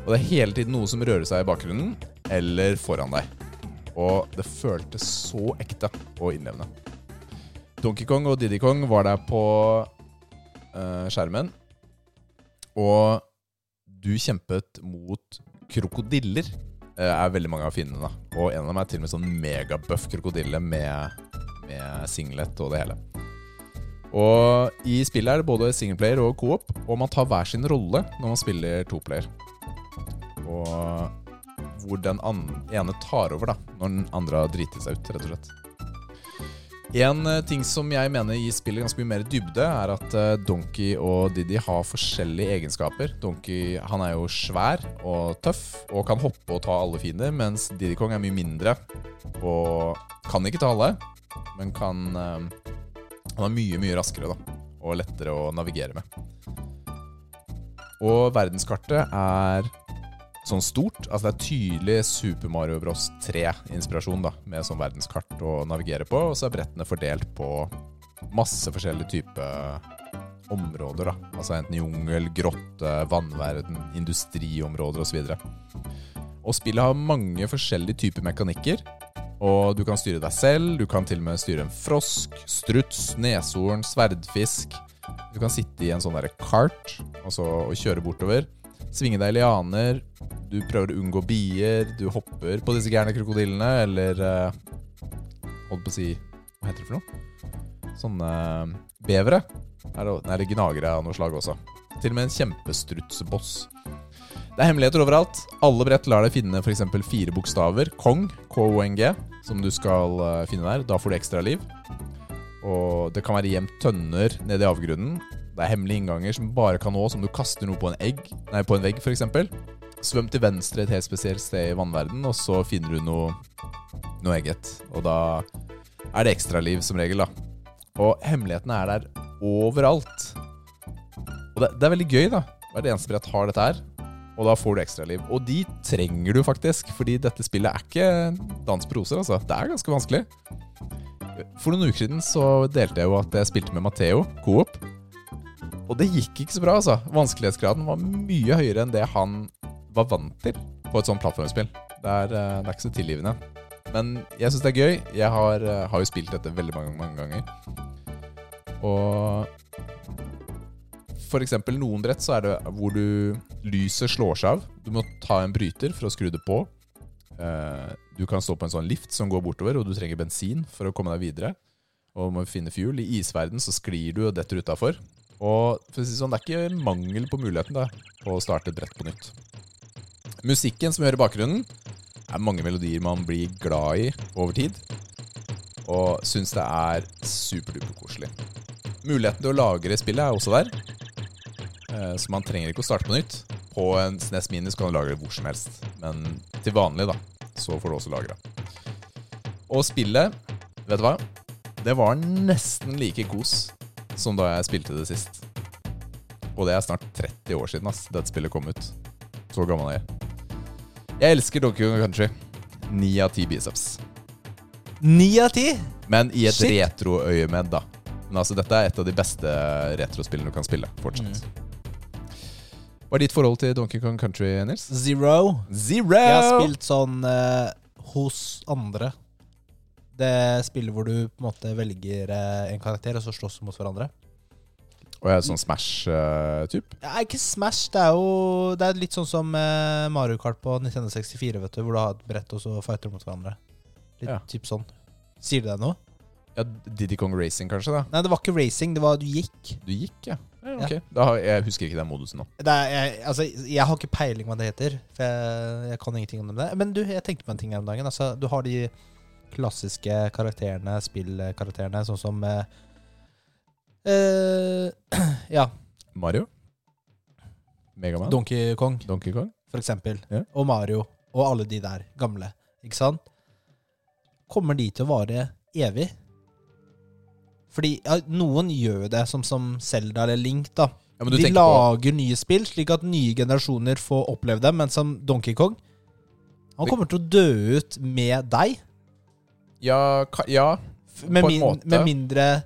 B: Og det er hele tiden noe som rører seg i bakgrunnen eller foran deg. Og det føltes så ekte og innlevende. Donkey Kong og Diddy Kong var der på eh, skjermen. Og du kjempet mot krokodiller, eh, er veldig mange av fiendene. da. Og en av dem er til og med sånn megabuff krokodille med, med singlet og det hele. Og i spillet er det både singleplayer og coop, og man tar hver sin rolle når man spiller toplayer. Og hvor den an ene tar over da når den andre har driti seg ut, rett og slett. En eh, ting som jeg mener gir spillet ganske mye mer dybde, er at eh, Donkey og Diddy har forskjellige egenskaper. Donkey han er jo svær og tøff og kan hoppe og ta alle fiender, mens Diddy Kong er mye mindre og kan ikke ta alle, men kan eh, Han er mye, mye raskere da og lettere å navigere med. Og verdenskartet er sånn stort. Altså det er tydelig Super Mario Bros. 3-inspirasjon, da, med sånn verdenskart å navigere på. Og så er brettene fordelt på masse forskjellige typer områder, da. Altså enten jungel, grotte, vannverden, industriområder osv. Og spillet har mange forskjellige typer mekanikker. Og du kan styre deg selv, du kan til og med styre en frosk, struts, neshorn, sverdfisk. Du kan sitte i en sånn derre kart altså, og kjøre bortover. Svinge deg i lianer, du prøver å unngå bier, du hopper på disse gærne krokodillene, eller eh, Holdt på å si Hva heter det for noe? Sånne eh, bevere. Er det, nei, det er gnagere av noe slag også. Til og med en kjempestrutseboss. Det er hemmeligheter overalt. Alle brett lar deg finne f.eks. fire bokstaver. Kong, K-O-N-G, som du skal eh, finne der. Da får du ekstra liv. Og det kan være gjemt tønner nede i avgrunnen. Det er hemmelige innganger som bare kan nå, som du kaster noe på en, egg, nei, på en vegg f.eks. Svøm til venstre et helt spesielt sted i vannverden, og så finner du noe, noe eget. Og da er det ekstraliv som regel, da. Og hemmelighetene er der overalt. Og det, det er veldig gøy, da. Hvert eneste brett har dette her. Og da får du ekstraliv. Og de trenger du faktisk, fordi dette spillet er ikke dans på roser, altså. Det er ganske vanskelig. For noen uker siden så delte jeg jo at jeg spilte med Matheo, Coop. Og det gikk ikke så bra, altså. Vanskelighetsgraden var mye høyere enn det han var vant til på et sånt plattformspill. Det er, eh, det er ikke så tilgivende. Men jeg syns det er gøy. Jeg har, eh, har jo spilt dette veldig mange, mange ganger. Og for eksempel noen brett så er det hvor du lyset slår seg av. Du må ta en bryter for å skru det på. Eh, Du kan stå på en sånn lift som går bortover, og du trenger bensin for å komme deg videre. Og du må finne fuel. I isverden så sklir du og detter utafor. Og for å si det sånn, det er ikke mangel på muligheten da, på å starte et brett på nytt. Musikken som vi hører i bakgrunnen, er mange melodier man blir glad i over tid. Og syns det er superduper koselig. Muligheten til å lagre spillet er også der. eh, Så man trenger ikke å starte på nytt. På en SNES Mini så kan du lagre hvor som helst. Men til vanlig, da, så får du også lagra. Og spillet, vet du hva? Det var nesten like kos som da jeg spilte det sist. Og det er snart 30 år siden ass, dette spillet kom ut. Så gammel er jeg. Jeg elsker Donkey Kong Country. Ni av ti biceps.
A: Ni av ti!
B: Men i et
A: Shit.
B: retroøyemed, da. Men altså, dette er et av de beste retrospillene du kan spille. Fortsatt.
A: Mm.
B: Hva er ditt forhold til Donkey Kong Country, Nils?
A: Zero.
B: Zero!
A: Jeg har spilt sånn eh, hos andre. Det spillet hvor du på en måte velger eh, en karakter, og så slåss du mot hverandre.
B: Og jeg er sånn Smash-type.
A: Ja, ikke Smash, det er jo Det er litt sånn som eh, Mario Kart på 1964, vet du, hvor du har et brett og så fighter du mot hverandre. Litt
B: Ja.
A: typ sånn. Sier det deg noe?
B: Ja, Diddy Kong Racing, kanskje? da
A: Nei, det var ikke racing, det var du gikk.
B: Du gikk, ja. ja ok. Da har, jeg husker ikke den modusen nå.
A: Det er, jeg, altså, jeg har ikke peiling hva det heter, for jeg, jeg kan ingenting om det. Men du, jeg tenkte på en ting her om dagen. Altså, du har de klassiske karakterene, spillkarakterene, sånn som eh, eh, Ja,
B: Mario? Megaman?
A: Donkey Kong.
B: Donkey Kong?
A: for eksempel,
B: Ja.
A: og Mario, og alle de der gamle, ikke sant? Kommer de til å vare evig? Fordi ja, noen gjør jo det, som, som Zelda eller Link, da.
B: Ja, men du
A: De
B: tenker på
A: lager nye spill, slik at nye generasjoner får oppleve dem, men som Donkey Kong Han
B: Det-
A: kommer til å dø ut med deg,
B: Ja, ka, ja.
A: f- med,
B: På en
A: min,
B: måte.
A: med mindre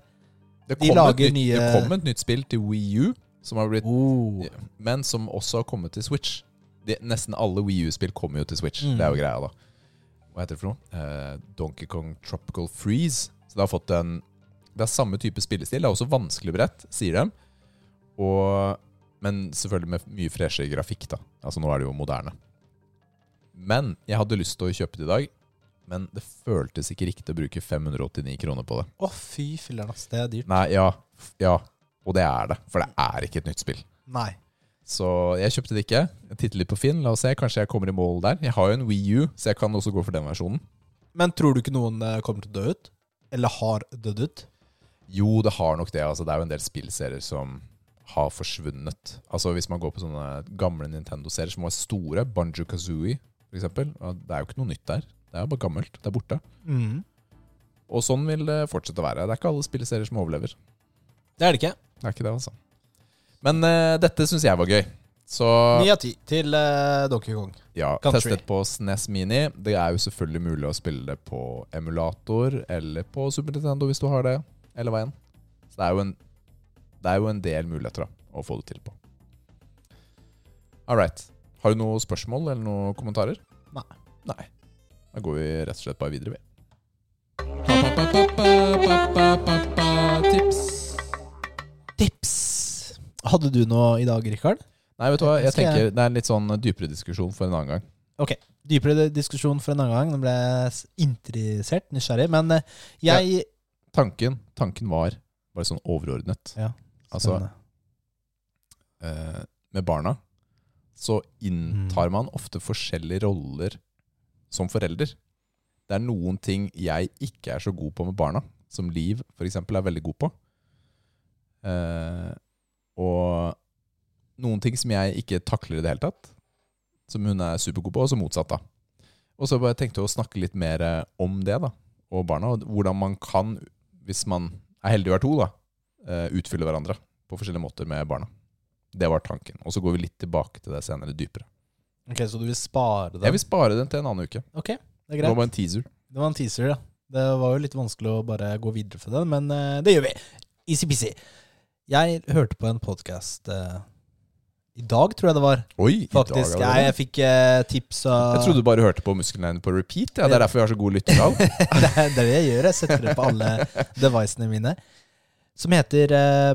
B: Det
A: De
B: kom, et
A: lager
B: nytt,
A: nye-
B: det kom et nytt spill til Wii U, som har blitt,
A: oh.
B: men som også har kommet til Switch. Det, nesten alle Wii U-spill kommer jo til Switch.
A: Mm.
B: Det er jo greia, da. Hva heter det for noe? Eh, Donkey Kong Tropical Freeze. Så det har fått en Det er samme type spillestil. Det er også vanskelig brett, sier de. Og, men selvfølgelig med mye freshere grafikk, da. Altså nå er det jo moderne. Men jeg hadde lyst til å kjøpe det i dag. Men det føltes ikke riktig å bruke 589 kroner på det.
A: Å, fy filler'n, ass. Det er dyrt.
B: Nei, ja, f- ja. Og det er det, for det er ikke et nytt spill.
A: Nei.
B: Så jeg kjøpte det ikke. Jeg titter litt på Finn, la oss se. Kanskje jeg kommer i mål der. Jeg har jo en Wii U, så jeg kan også gå for den versjonen.
A: Men tror du ikke noen eh, kommer til å dø ut? Eller har dødd ut?
B: Jo, det har nok det. Altså, det er jo en del spillserier som har forsvunnet. Altså, hvis man går på sånne gamle Nintendo-serier som var store, Banjo Kazooie f.eks., det er jo ikke noe nytt der. Det er jo bare gammelt. Det er borte.
A: Mm.
B: Og sånn vil det fortsette å være. Det er ikke alle spillserier som overlever.
A: Det er det ikke.
B: Det er ikke det, altså. Men eh, dette syns jeg var gøy. Så
A: Ni av ti til eh, Donkey Kong.
B: Ja,
A: Country.
B: testet på SNES Mini. Det er jo selvfølgelig mulig å spille det på emulator eller på Super Nintendo hvis du har det, eller hva enn. Så det er jo en, det er jo en del muligheter da, å få det til på. All right. Har du noen spørsmål eller noen kommentarer?
A: Nei.
B: Nei. Da går vi rett og slett bare videre, vi. Tips.
A: Tips! Hadde du noe i dag, Rikard?
B: Nei, vet du hva. Jeg
A: Skal jeg-
B: tenker Det er en litt sånn dypere diskusjon for en annen gang.
A: Ok, dypere diskusjon for en annen gang. Nå ble jeg s- interessert, nysgjerrig. Men eh, jeg
B: Tanken, tanken var bare sånn overordnet.
A: Ja,
B: altså,
A: Spennende.
B: eh, med barna, så inntar man ofte forskjellige roller som forelder. Det er noen ting jeg ikke er så god på med barna, som Liv f.eks. er veldig god på. Eh, og noen ting som jeg ikke takler i det hele tatt, som hun er supergod på, og så motsatt, da. Og så bare tenkte jeg å snakke litt mer eh, om det, da, og barna, og hvordan man kan, hvis man er heldig og er to, da, eh, utfylle hverandre på forskjellige måter med barna. Det var tanken. Og så går vi litt tilbake til det senere, dypere.
A: Ok, Så du vil spare
B: Jeg
A: den?
B: vil spare den til en annen uke.
A: Ok, det er
B: Det var
A: greit.
B: bare en teaser.
A: Det var en teaser, ja. Det var jo litt vanskelig å bare gå videre fra den, men eh, det gjør vi. Easy-peasy. Jeg hørte på en podkast i dag, tror jeg det var.
B: Oi, i dag
A: Faktisk.
B: allerede.
A: Jeg, jeg fikk eh, tips av
B: Jeg trodde du bare hørte på musklene dine på repeat. Ja. Det er derfor vi har så god lyttertall.
A: det er det er det jeg gjør. Jeg setter det på alle devicene mine. Som heter eh,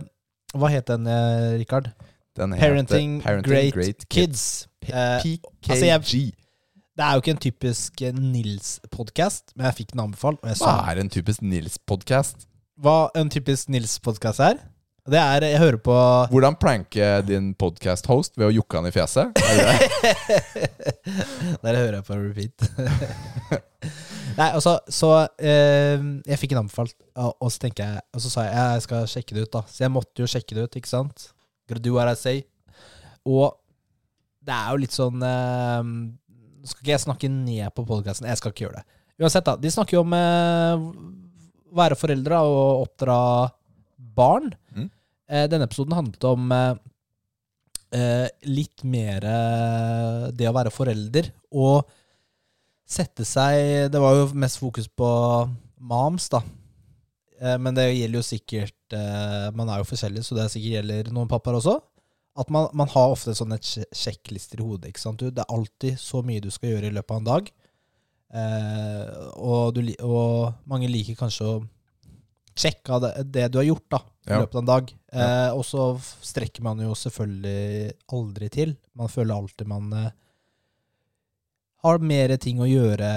A: Hva het den, eh, Rikard?
B: Den heter
A: Parenting, Great, Kids. Eh,
B: PKG.
A: altså, det er jo ikke en typisk eh, Nils-podkast, men jeg fikk den anbefalt. Og jeg
B: Hva
A: sa
B: er en typisk Nils-podkast?
A: hva en typisk Nils-podkast er. Det er Jeg hører på
B: Hvordan pranke din podcast-host ved å jukke han i fjeset? Er det det?
A: Der hører jeg på repeat. Nei, altså, så eh, Jeg fikk den anbefalt, og, og så tenker jeg Og så sa jeg jeg skal sjekke det ut, da. Så jeg måtte jo sjekke det ut, ikke sant? Gotta do what I say. Og det er jo litt sånn eh, Nå skal ikke jeg snakke ned på podkasten. Jeg skal ikke gjøre det. Uansett, da. De snakker jo om eh, være foreldre da, og oppdra barn.
B: Mm.
A: Eh, denne episoden handlet om eh, eh, litt mer eh, det å være forelder og sette seg Det var jo mest fokus på moms, da. Eh, men det gjelder jo sikkert eh, Man er jo forskjellig, så det er sikkert gjelder noen pappaer også. At man, man har ofte sånne sj- sjekklister i hodet. ikke sant? Du, det er alltid så mye du skal gjøre i løpet av en dag. Eh, og, du, li- og mange liker kanskje å sjekke av det, det du har gjort da, i
B: Ja.
A: løpet av en dag. Eh, og så f- strekker man jo selvfølgelig aldri til. Man føler alltid man eh, har mer ting å gjøre,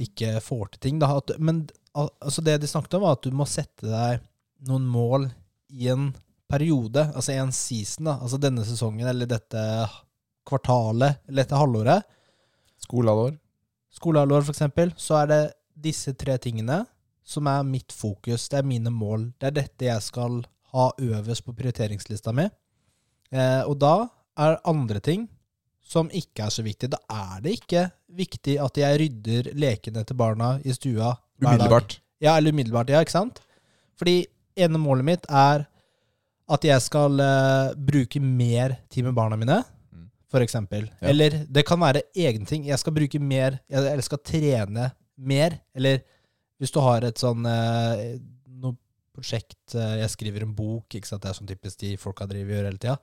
A: ikke får til ting. Da. At, men al- altså det de snakket om, var at du må sette deg noen mål i en periode, altså i en season, da. altså denne sesongen eller dette kvartalet eller dette halvåret
B: Skolealder.
A: skolehalvår for eksempel, så er det disse tre tingene som er mitt fokus. Det er mine mål. Det er dette jeg skal ha øverst på prioriteringslista mi. Eh, og da er andre ting som ikke er så viktig. Da er det ikke viktig at jeg rydder lekene til barna i stua hver dag.
B: Umiddelbart.
A: Ja, eller umiddelbart, ja, ikke sant? Fordi ene målet mitt er at jeg skal eh, bruke mer tid med barna mine,
B: Mm.
A: for eksempel.
B: Ja.
A: Eller det kan være egne ting. Jeg skal bruke mer, jeg- eller skal trene mer, eller hvis du har et sånn eh, noe prosjekt, eh, jeg skriver en bok, ikke sant, det er sånn typisk de folka driver og gjør hele tida,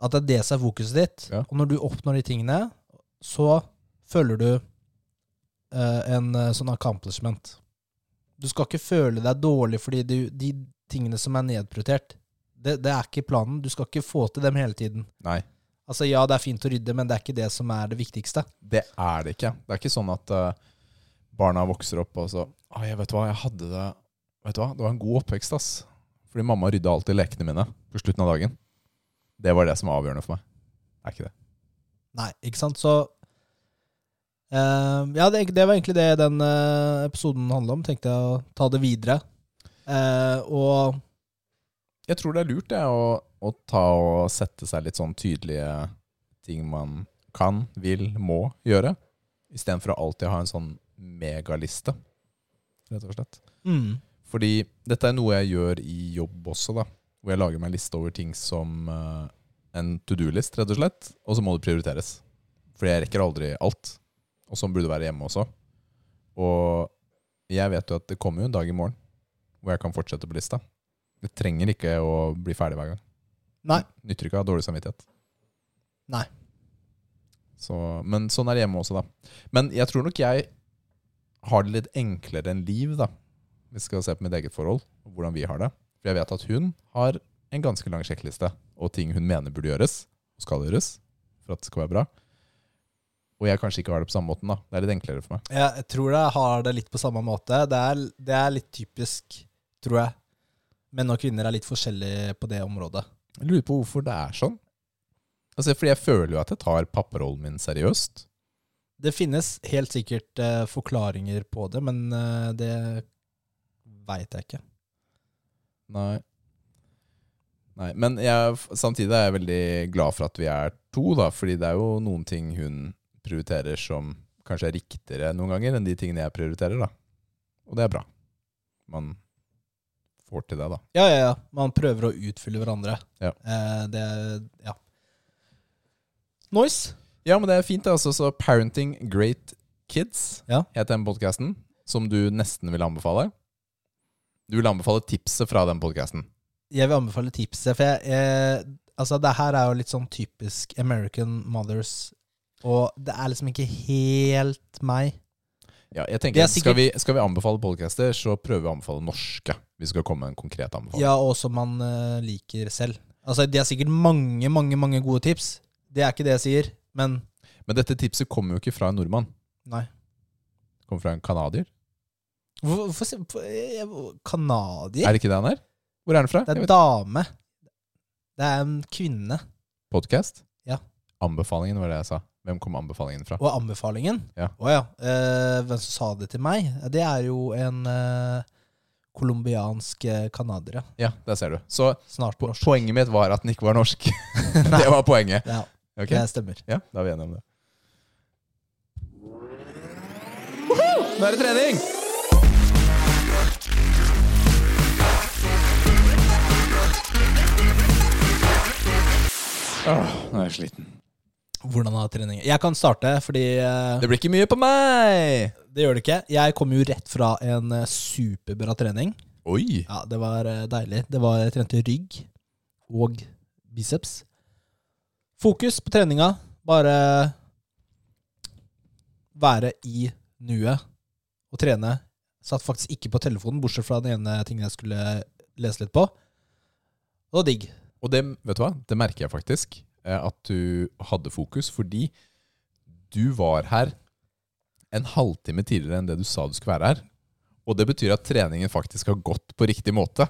A: at det er det som er fokuset ditt.
B: Ja.
A: Og når du oppnår de tingene, så føler du eh, en eh, sånn accomplishment. Du skal ikke føle deg dårlig fordi du, de tingene som er nedprioritert, det, det er ikke planen. Du skal ikke få til dem hele tiden.
B: Nei.
A: Altså Ja, det er fint å rydde, men det er ikke det som er det viktigste.
B: Det er det ikke. Det er ikke sånn at eh, barna vokser opp og så «Å, jeg vet hva, jeg hadde det Vet du hva, det var en god oppvekst, ass. Fordi mamma rydda alltid lekene mine på slutten av dagen. Det var det som var avgjørende for meg. Er ikke det?
A: Nei, ikke sant? Så eh, Ja, det, det var egentlig det den eh, episoden handla om. Tenkte jeg å ta det videre. Eh, og
B: Jeg tror det er lurt det, å, å ta og sette seg litt sånn tydelige ting man kan, vil, må gjøre. Istedenfor å alltid ha en sånn megaliste, rett og slett.
A: mm,
B: Fordi dette er noe jeg gjør i jobb også, da. Hvor jeg lager meg en liste over ting som eh, en to do-list, rett og slett. Og så må det prioriteres. Fordi jeg rekker aldri alt. Og sånn burde det være hjemme også. Og jeg vet jo at det kommer jo en dag i morgen hvor jeg kan fortsette på lista. Det trenger ikke å bli ferdig hver gang.
A: Nei.
B: Nytter ikke å ha dårlig samvittighet.
A: Nei.
B: Så, men sånn er det hjemme også, da. Men jeg tror nok jeg har det litt enklere enn Liv, da. Vi skal se på mitt eget forhold, og hvordan vi har det. For jeg vet at hun har en ganske lang sjekkliste, og ting hun mener burde gjøres, og skal gjøres, for at det skal være bra. Og jeg kanskje ikke har det på samme måten, da. Det er litt enklere for meg.
A: jeg tror jeg har det litt på samme måte. Det er, det er litt typisk, tror jeg. Menn og kvinner er litt forskjellige på det området.
B: Jeg lurer på hvorfor det er sånn. Altså, fordi jeg føler jo at jeg tar papparollen min seriøst.
A: Det finnes helt sikkert eh, forklaringer på det, men eh, det veit jeg ikke.
B: Nei. Nei, Men jeg, samtidig er jeg veldig glad for at vi er to, da, fordi det er jo noen ting hun prioriterer som kanskje er riktigere noen ganger enn de tingene jeg prioriterer. da. Og det er bra. Man får til det, da.
A: Ja, ja, ja. Man prøver å utfylle hverandre.
B: Ja.
A: Eh, det Ja. Noise.
B: Ja, men det er fint. det, Altså, så Parenting Great Kids
A: Ja.
B: heter den podkasten, som du nesten vil anbefale. Du vil anbefale tipset fra den podkasten.
A: Jeg vil anbefale tipset, for jeg, eh, Altså, det her er jo litt sånn typisk American Mothers, og det er liksom ikke helt meg.
B: Ja,
A: Det
B: jeg tenker,
A: er
B: skal, vi, skal vi anbefale podcaster, så prøver vi å anbefale norske. Vi skal komme med en konkret anbefaling.
A: Ja, og som man eh, liker selv. Altså, det er sikkert mange, mange, mange gode tips. Det er ikke det jeg sier, men
B: Men dette tipset kommer jo ikke fra en nordmann.
A: nei.
B: Det kommer fra en canadier.
A: Hvorfor hvorfor sier- hvorfor- jeg- Kanadier?
B: Er det ikke det han er? Hvor er han fra?
A: Det
B: Jeg
A: er
B: vet.
A: dame. Det er en kvinne.
B: Podcast?
A: Ja.
B: Anbefalingen var det jeg sa. Hvem kom anbefalingen fra?
A: Og anbefalingen
B: Ja.
A: Å ja. Eh, hvem som sa det til meg? Det er jo en eh, colombiansk eh, canadier, ja.
B: Ja, der ser du. Så
A: Snart
B: po
A: norsk.
B: poenget mitt var at den ikke var norsk. det var poenget.
A: Ja,
B: Ok?
A: det stemmer.
B: Ja, da er vi enige om det. Nå er det trening! Åh, nå er jeg sliten.
A: Hvordan har treningen Jeg kan starte, fordi eh,
B: Det blir ikke mye på meg!
A: det gjør det ikke. Jeg kom jo rett fra en eh, superbra trening.
B: Oi!
A: Ja, det var eh, deilig. Det var, jeg trente rygg og biceps. Fokus på treninga. Bare være i nuet og trene. Satt faktisk ikke på telefonen, bortsett fra den ene tingen jeg skulle lese litt på. Det var digg.
B: Og det, vet du hva? det merker jeg faktisk, eh, at du hadde fokus, fordi du var her en halvtime tidligere enn det du sa du skulle være her. Og det betyr at treningen faktisk har gått på riktig måte.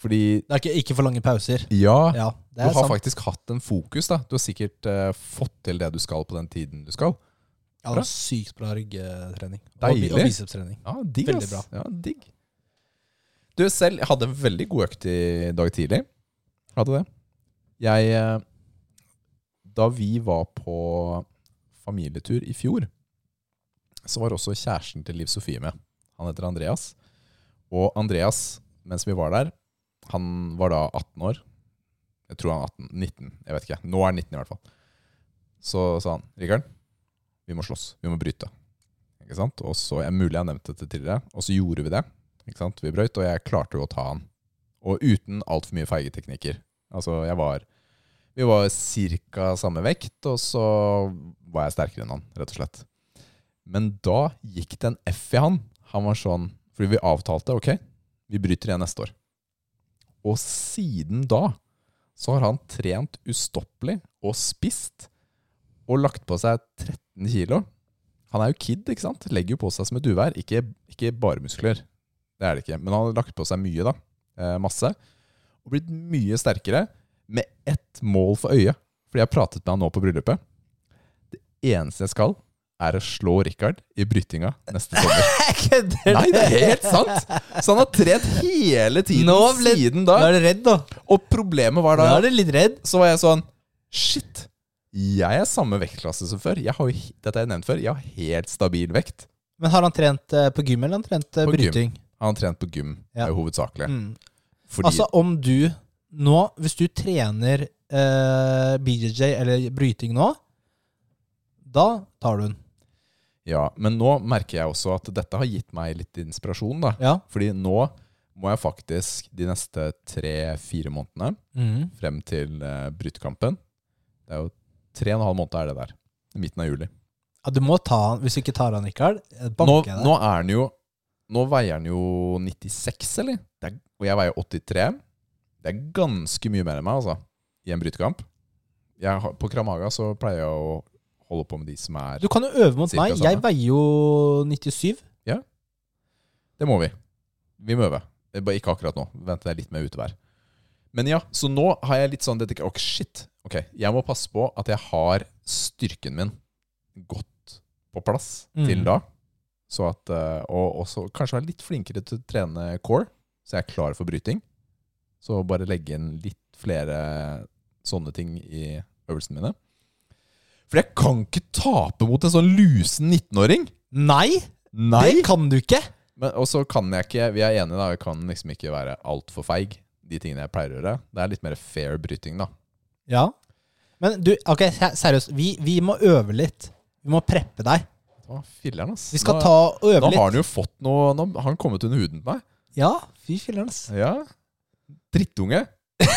B: Fordi
A: Det er ikke, ikke for lange pauser.
B: ja,
A: Ja,
B: du
A: det er
B: har
A: sant.
B: faktisk hatt en fokus. da. Du har sikkert eh, fått til det du skal på den tiden du skal.
A: Ja, det var sykt bra ryggetrening. Og, bi-
B: Deilig.
A: og bicepstrening.
B: Ja, digg,
A: Veldig
B: ass. Ja, digg. Du selv jeg hadde en veldig god økt i dag tidlig. Hadde det. Jeg eh, Da vi var på familietur i fjor, så var også kjæresten til Liv Sofie med. Han heter Andreas. Og Andreas, mens vi var der, han var da 18 år. Jeg tror han er 18, 19. Jeg vet ikke. Nå er han 19 i hvert fall. Så sa han Rikard, vi må slåss. Vi må bryte. Ikke sant? Og så, jeg, mulig jeg har nevnt dette tidligere, og så gjorde vi det. Ikke sant? Vi brøyt, og jeg klarte jo å ta han. Og uten altfor mye feige teknikker. Altså, jeg var Vi var ca. samme vekt, og så var jeg sterkere enn han, rett og slett. Men da gikk det en F i han. Han var sånn Fordi vi avtalte, ok, vi bryter igjen neste år. Og siden da så har han trent ustoppelig og spist og lagt på seg 13 kilo. Han er jo kid, ikke sant? Legger jo på seg som et uvær. Ikke, ikke bare muskler, det er det ikke. Men han har lagt på seg mye, da. Eh, masse. Og blitt mye sterkere med ett mål for øye. Fordi jeg pratet med han nå på bryllupet. Det eneste jeg skal, er å slå Richard i brytinga neste sommer. Nei, det er helt sant! Så han har trent hele tiden
A: Nå ble-
B: siden
A: Da
B: da.
A: er du redd, da.
B: Og problemet var
A: Da
B: da
A: er du litt redd.
B: så var jeg sånn Shit, jeg er samme vektklasse som før. Jeg har jo, he- dette har jeg nevnt før. Jeg har helt stabil vekt.
A: Men har han trent eh, på gym, eller har han trent eh,
B: På gym.
A: bryting?
B: Han har trent på gym
A: Ja.
B: eh, hovedsakelig.
A: Mm.
B: Fordi
A: Altså, om du nå, hvis du trener eh, BJJ eller bryting nå, da tar du den.
B: Ja, men nå merker jeg også at dette har gitt meg litt inspirasjon, da.
A: Ja.
B: Fordi nå må jeg faktisk de neste tre-fire månedene
A: Mhm.
B: frem til eh, brytekampen Det er jo tre og en halv måned er det der. Midten av juli.
A: ja. Du må ta han, hvis du ikke tar han, Rikard. eh,
B: Nå,
A: Banker jeg deg.
B: nå er den jo Nå veier den jo 96, eller? Det er, og jeg veier 83. Det er ganske mye mer enn meg, altså, i en brytekamp. Jeg, har- på Kramaga så pleier jeg å holde på med de som er
A: Du kan jo øve mot
B: Cirka
A: meg. Jeg
B: samme.
A: veier jo 97.
B: Det må vi. Vi må øve. Det er Bare ikke akkurat nå. Vent, det er litt mer utevær. Men ja, så nå har jeg litt sånn dette, Ok, shit. Ok, jeg må passe på at jeg har styrken min godt på plass
A: Mm.
B: til da. Så at, eh, og også kanskje være litt flinkere til å trene core, så jeg er klar for bryting. Så bare legge inn litt flere sånne ting i øvelsene mine. For jeg kan ikke tape mot en sånn lusen 19-åring!
A: Nei,
B: Nei!
A: det kan du ikke!
B: Men også kan jeg ikke Vi er enige, da. Jeg kan liksom ikke være altfor feig. De tingene jeg pleier å gjøre. Det er litt mer fair bryting, da.
A: Ja. Men du, ok, se- seriøst. Vi, vi må øve litt. Vi må preppe deg.
B: Å, filler'n, ass.
A: Vi skal
B: nå,
A: ta og øve
B: nå
A: litt.
B: har han jo fått noe Nå har han kommet under huden på meg.
A: Ja, fy filler'n, ass.
B: Ja. Drittunge.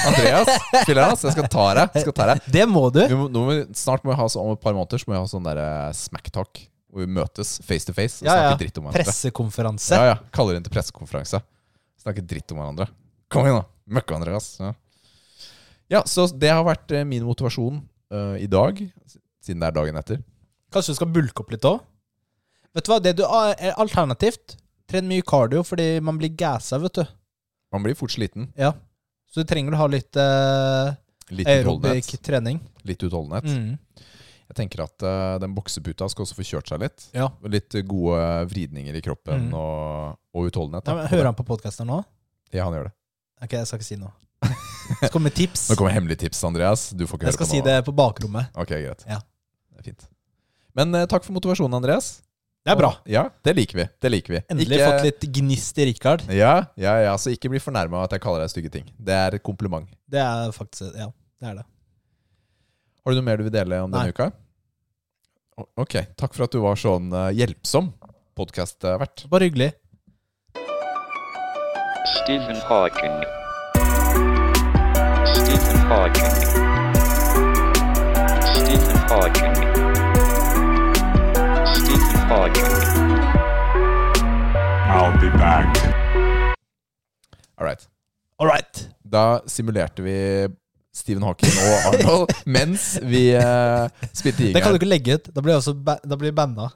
B: Andreas, filler'n, ass. Jeg skal ta deg. Jeg skal ta deg.
A: Det må du.
B: Vi må, nå må, vi- snart må vi ha så, om et par måneder Så må vi ha sånn derre smacktalk. Hvor vi møtes face to face og
A: Ja, ja.
B: snakker dritt om hverandre.
A: Pressekonferanse.
B: Ja, ja. Kaller inn til pressekonferanse. Snakker dritt om hverandre. Kom igjen, da. Møkk hverandre, ass. Ja. ja, så det har vært eh, min motivasjon eh, i dag, siden det er dagen etter.
A: Kanskje du skal bulke opp litt òg? Vet du hva, det du ah, er alternativt Tren mye cardio fordi man blir gassa, vet du.
B: Man blir fort sliten.
A: Ja. Så du trenger å ha litt eh,
B: Litt
A: aerobic
B: utholdenhet.
A: trening.
B: Litt utholdenhet.
A: Mm.
B: Jeg tenker at eh, den bokseputa skal også få kjørt seg litt.
A: Ja.
B: Og Litt eh, gode vridninger i kroppen
A: Mm.
B: og, og utholdenhet.
A: Nei,
B: da.
A: men, hører han på podkasten nå?
B: Ja, han gjør det.
A: Ok, jeg skal ikke si noe. Så kommer tips.
B: Nå kommer hemmelige tips, Andreas. Du får ikke
A: Jeg
B: høre på
A: skal si
B: nå.
A: det på bakrommet.
B: Ok, greit.
A: Ja.
B: Det er fint. Men eh, takk for motivasjonen, Andreas.
A: Det er bra.
B: Ja, det liker vi. Det liker vi.
A: Endelig
B: Ikke-
A: fått litt gnist i Richard.
B: Ja, ja, ja, altså så ikke bli fornærma av at jeg kaller deg stygge ting. Det er et kompliment.
A: Det er faktisk Ja, det er det.
B: Har du noe mer du vil dele om denne
A: Nei.
B: uka? O- Ok, takk for at du var sånn eh, hjelpsom podkastvert.
A: Bare hyggelig.
D: Stephen Hawking. Stephen Hawking. Stephen Hawking. Stephen Hawking.
E: I'll be back.
B: All right.
A: All right.
B: Da simulerte vi Stephen Hawking og Arnold mens vi eh, spilte
A: Det kan du
B: jingeren.
A: ikke legge ut. Da blir jeg også ba da blir jeg banna.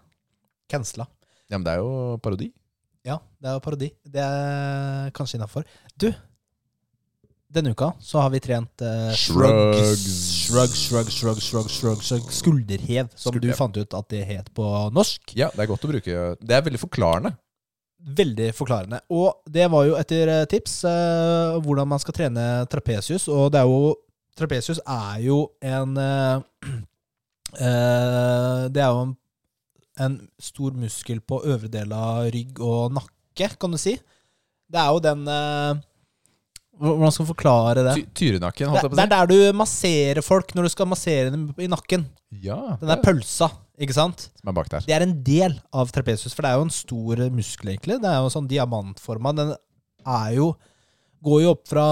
A: Cancela.
B: Ja, men det er jo parodi.
A: Ja, det er jo parodi. Det er kanskje innafor. Du, denne uka så har vi trent eh,
B: Shrugs.
A: Shrug, shrug, shrug, shrug, shrug, shrug. Skulderhev, som
B: Skulderhev.
A: du fant ut at det het på norsk.
B: Ja, det er godt å bruke Det er veldig forklarende.
A: Veldig forklarende. Og det var jo etter eh, tips eh, hvordan man skal trene trapesius, og det er jo Trapesius er jo en eh, eh, Det er jo en, en stor muskel på øvre del av rygg og nakke, kan du si. Det er jo den eh, Hvordan skal man forklare det?
B: Ty Tyrenakken,
A: Det,
B: holdt jeg på
A: det
B: å
A: er
B: si.
A: der du masserer folk når du skal massere dem i nakken.
B: Ja,
A: Den der
B: det
A: pølsa, ikke sant?
B: som er bak der.
A: Det er en del av trapesius, for det er jo en stor muskel, egentlig. Det er jo sånn diamantforma. Den er jo Går jo opp fra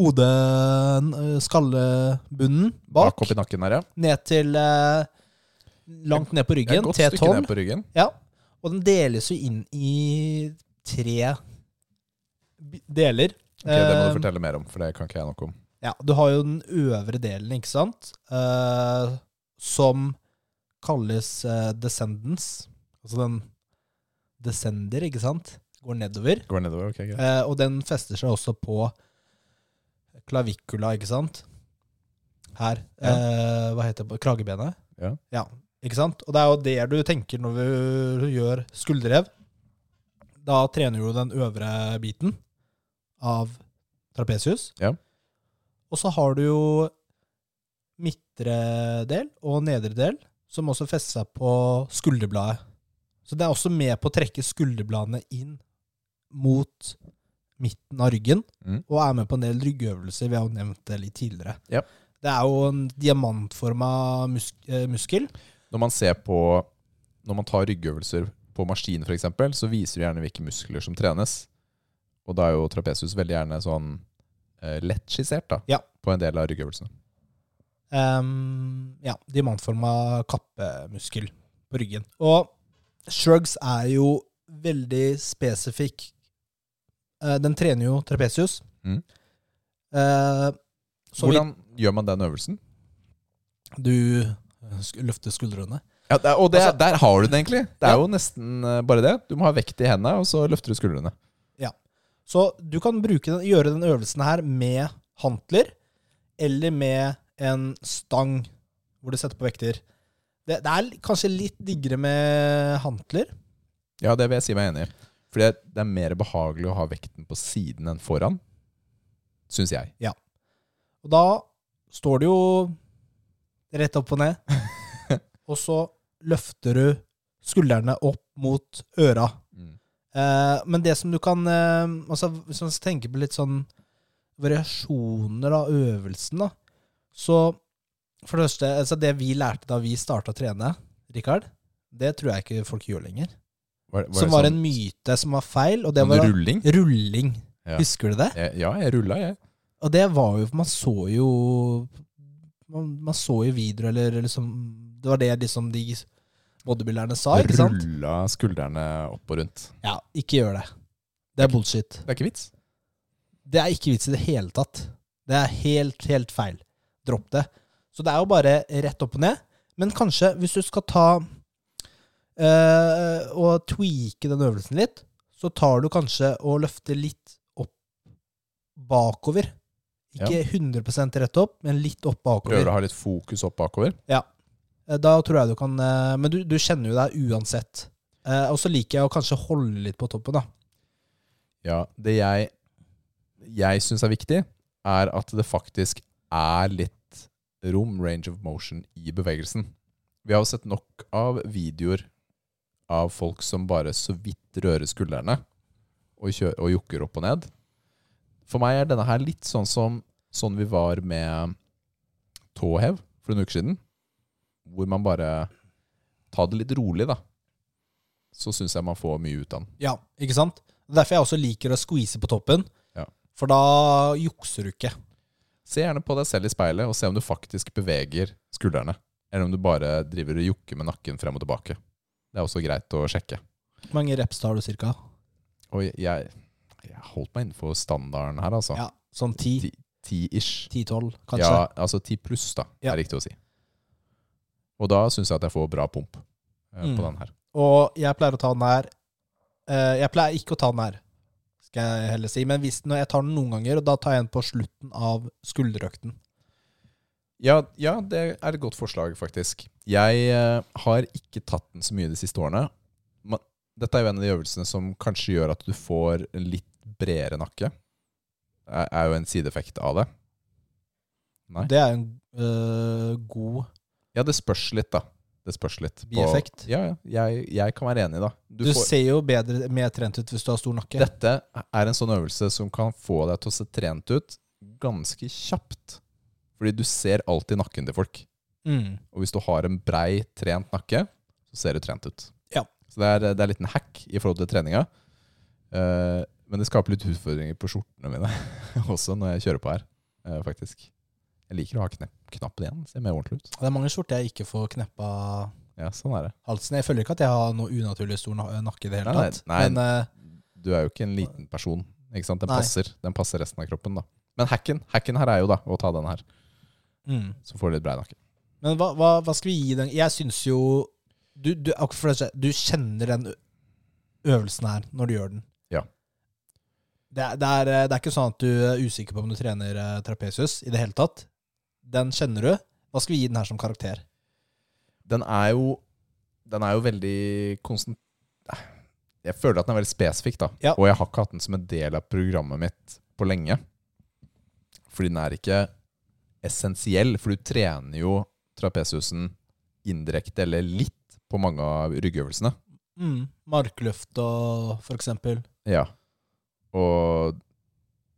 A: hodet øh, Skallebunnen bak,
B: Bak oppi nakken her, ja.
A: ned til eh, Langt ned på
B: Det er et
A: ryggen.
B: godt stykke
A: T12.
B: ned på ryggen.
A: Ja. Og den deles jo inn i tre bi- deler.
B: Ok, Det må
A: Eh,
B: du fortelle mer om, for det kan ikke jeg noe om.
A: Ja, du har jo den øvre delen, ikke sant? Eh, som kalles eh, descendants. Altså den descender, ikke sant? Går nedover.
B: Går nedover, ok, greit.
A: Eh, og den fester seg også på klavikula, ikke sant? Her.
B: Ja.
A: Eh, hva heter det? på- Kragebenet?
B: Ja.
A: Ikke sant? Og det er jo det du tenker når du gjør skulderhev. Da trener du den øvre biten av trapesius.
B: Ja.
A: Og så har du jo midtre del og nedre del, som også fester seg på skulderbladet. Så det er også med på å trekke skulderbladene inn mot midten av ryggen,
B: Mm.
A: og er med på en del ryggøvelser. Vi har jo nevnt det litt tidligere.
B: Ja.
A: Det er jo en diamantforma mus eh, muskel.
B: Når man ser på Når man tar ryggøvelser på maskin, f.eks., så viser du gjerne hvilke muskler som trenes. Og da er jo trapesius veldig gjerne sånn eh, lett skissert, da.
A: Ja.
B: På en del av ryggøvelsene.
A: Ehm, ja, diamantforma kappemuskel på ryggen. Og shrugs er jo veldig spesifikk. Eh, den trener jo trapesius.
B: Mm.
A: Eh, så vi-
B: Hvordan gjør man den øvelsen?
A: du eh, sk- løfter skuldrene.
B: Ja, det, er- og det,
A: Altså-
B: der har du den, egentlig. Det er
A: Ja.
B: jo nesten eh, bare det. Du må ha vekt i hendene, og så løfter du skuldrene.
A: Så du kan bruke den, gjøre den øvelsen her med hantler, eller med en stang hvor du setter på vekter. Det, det er kanskje litt diggere med hantler.
B: Ja, det vil jeg si meg enig i. For det, det er mer behagelig å ha vekten på siden enn foran, syns jeg.
A: Og da står du jo rett opp og ned, og så løfter du skuldrene opp mot øra.
B: Mm.
A: Eh, men det som du kan eh, altså, Hvis man skal tenke på litt sånn variasjoner av øvelsen, da, så For det første, altså det vi lærte da vi starta å trene, Rikard, det tror jeg ikke folk gjør lenger.
B: Var, var
A: som
B: det
A: var
B: sånn,
A: en myte som var feil, og det
B: sånn
A: var
B: rulling?
A: rulling.
B: Ja.
A: Husker du det?
B: Eh, Ja, jeg rulla, jeg.
A: Og det var jo Man så jo Man, man så jo videoer, eller liksom Det var det liksom de bodybuilderne sa, ikke sant?
B: Rulla skuldrene opp og rundt.
A: Ja, ikke gjør det. Det er bullshit.
B: Det er ikke vits.
A: Det er ikke vits i det hele tatt. Det er helt, helt feil. Dropp det. Så det er jo bare rett opp og ned. Men kanskje hvis du skal ta eh, og tweake den øvelsen litt, så tar du kanskje og løfter litt opp bakover. Ikke 100 rett opp, men litt opp bakover.
B: Prøver å ha litt fokus opp bakover.
A: Eh, Da tror jeg du kan eh, Men du, du kjenner jo deg uansett. Eh, og så liker jeg å kanskje holde litt på toppen, da.
B: Ja, det jeg, jeg syns er viktig, er at det faktisk er litt rom, range of motion, i bevegelsen. Vi har jo sett nok av videoer av folk som bare så vidt rører skuldrene og, kjø og jukker opp og ned. For meg er denne her litt sånn som sånn vi var med tåhev for noen uker siden, hvor man bare tar det litt rolig, da, så syns jeg man får mye ut av den.
A: Ja, ikke sant? Derfor jeg også liker å squeeze på toppen.
B: Ja.
A: For da jukser du ikke.
B: Se gjerne på deg selv i speilet og se om du faktisk beveger skuldrene, eller om du bare driver og jukker med nakken frem og tilbake. Det er også greit å sjekke.
A: Hvor mange reps tar du cirka?
B: Og jeg, jeg holdt meg innenfor standarden her, altså.
A: Ja, sånn 10-12,
B: Ti- Ti-ish.
A: kanskje.
B: Ja, altså 10 pluss, da,
A: Ja.
B: er riktig å si. Og da syns jeg at jeg får bra pump eh,
A: Mm.
B: på den her.
A: Og jeg pleier å ta den her. Eh, Jeg pleier ikke å ta den her, skal jeg heller si. Men hvis, når jeg tar den noen ganger, og da tar jeg den på slutten av skulderøkten.
B: Ja, ja, det er et godt forslag, faktisk. Jeg eh, har ikke tatt den så mye de siste årene. Men dette er jo en av de øvelsene som kanskje gjør at du får en litt bredere nakke. Det er jo en sideeffekt av det. Nei.
A: Det er en eh, god
B: Ja, det spørs litt, da. Det spørs litt. på-
A: Bieffekt?
B: Ja, ja. Jeg, jeg kan være enig, da.
A: Du, ser jo bedre, mer trent ut hvis du har stor nakke.
B: Dette er en sånn øvelse som kan få deg til å se trent ut ganske kjapt. Fordi du ser alltid nakken til folk.
A: Mm.
B: Og hvis du har en brei, trent nakke, så ser du trent ut.
A: Ja.
B: Så det er, det er en liten hack i forhold til treninga. Eh, men det skaper litt utfordringer på skjortene mine også når jeg kjører på her, eh, faktisk. Jeg liker å ha knepp, knappen igjen. Ser mer ordentlig ut.
A: Det er mange skjorter jeg ikke får kneppa
B: Ja, sånn er det.
A: halsen. Jeg føler ikke at jeg har noe unaturlig stor na- nakke i det hele
B: Nei, nei,
A: tatt.
B: nei.
A: Men eh,
B: Du er jo ikke en liten person. Ikke sant? Den
A: Nei.
B: passer. Den passer resten av kroppen, da. Men hacken, hacken her er jo da å ta den her,
A: mm.
B: så får du litt brei nakke.
A: Men hva, hva, hva skal vi gi den? Jeg syns jo du, du, akkurat for det, du kjenner den ø- øvelsen her når du gjør den.
B: Ja.
A: Det, er- det, er, det er ikke sånn at du er usikker på om du trener eh, trapesius i det hele tatt. Den kjenner du. Hva skal vi gi den her som karakter?
B: den er jo Den er jo veldig konsent... Jeg føler at den er veldig spesifikk, da.
A: Ja.
B: Og jeg har ikke hatt den som en del av programmet mitt på lenge. Fordi den er ikke essensiell, for du trener jo trapesusen indirekte, eller litt, på mange av ryggøvelsene.
A: Mm. Markløft og for eksempel.
B: Ja. Og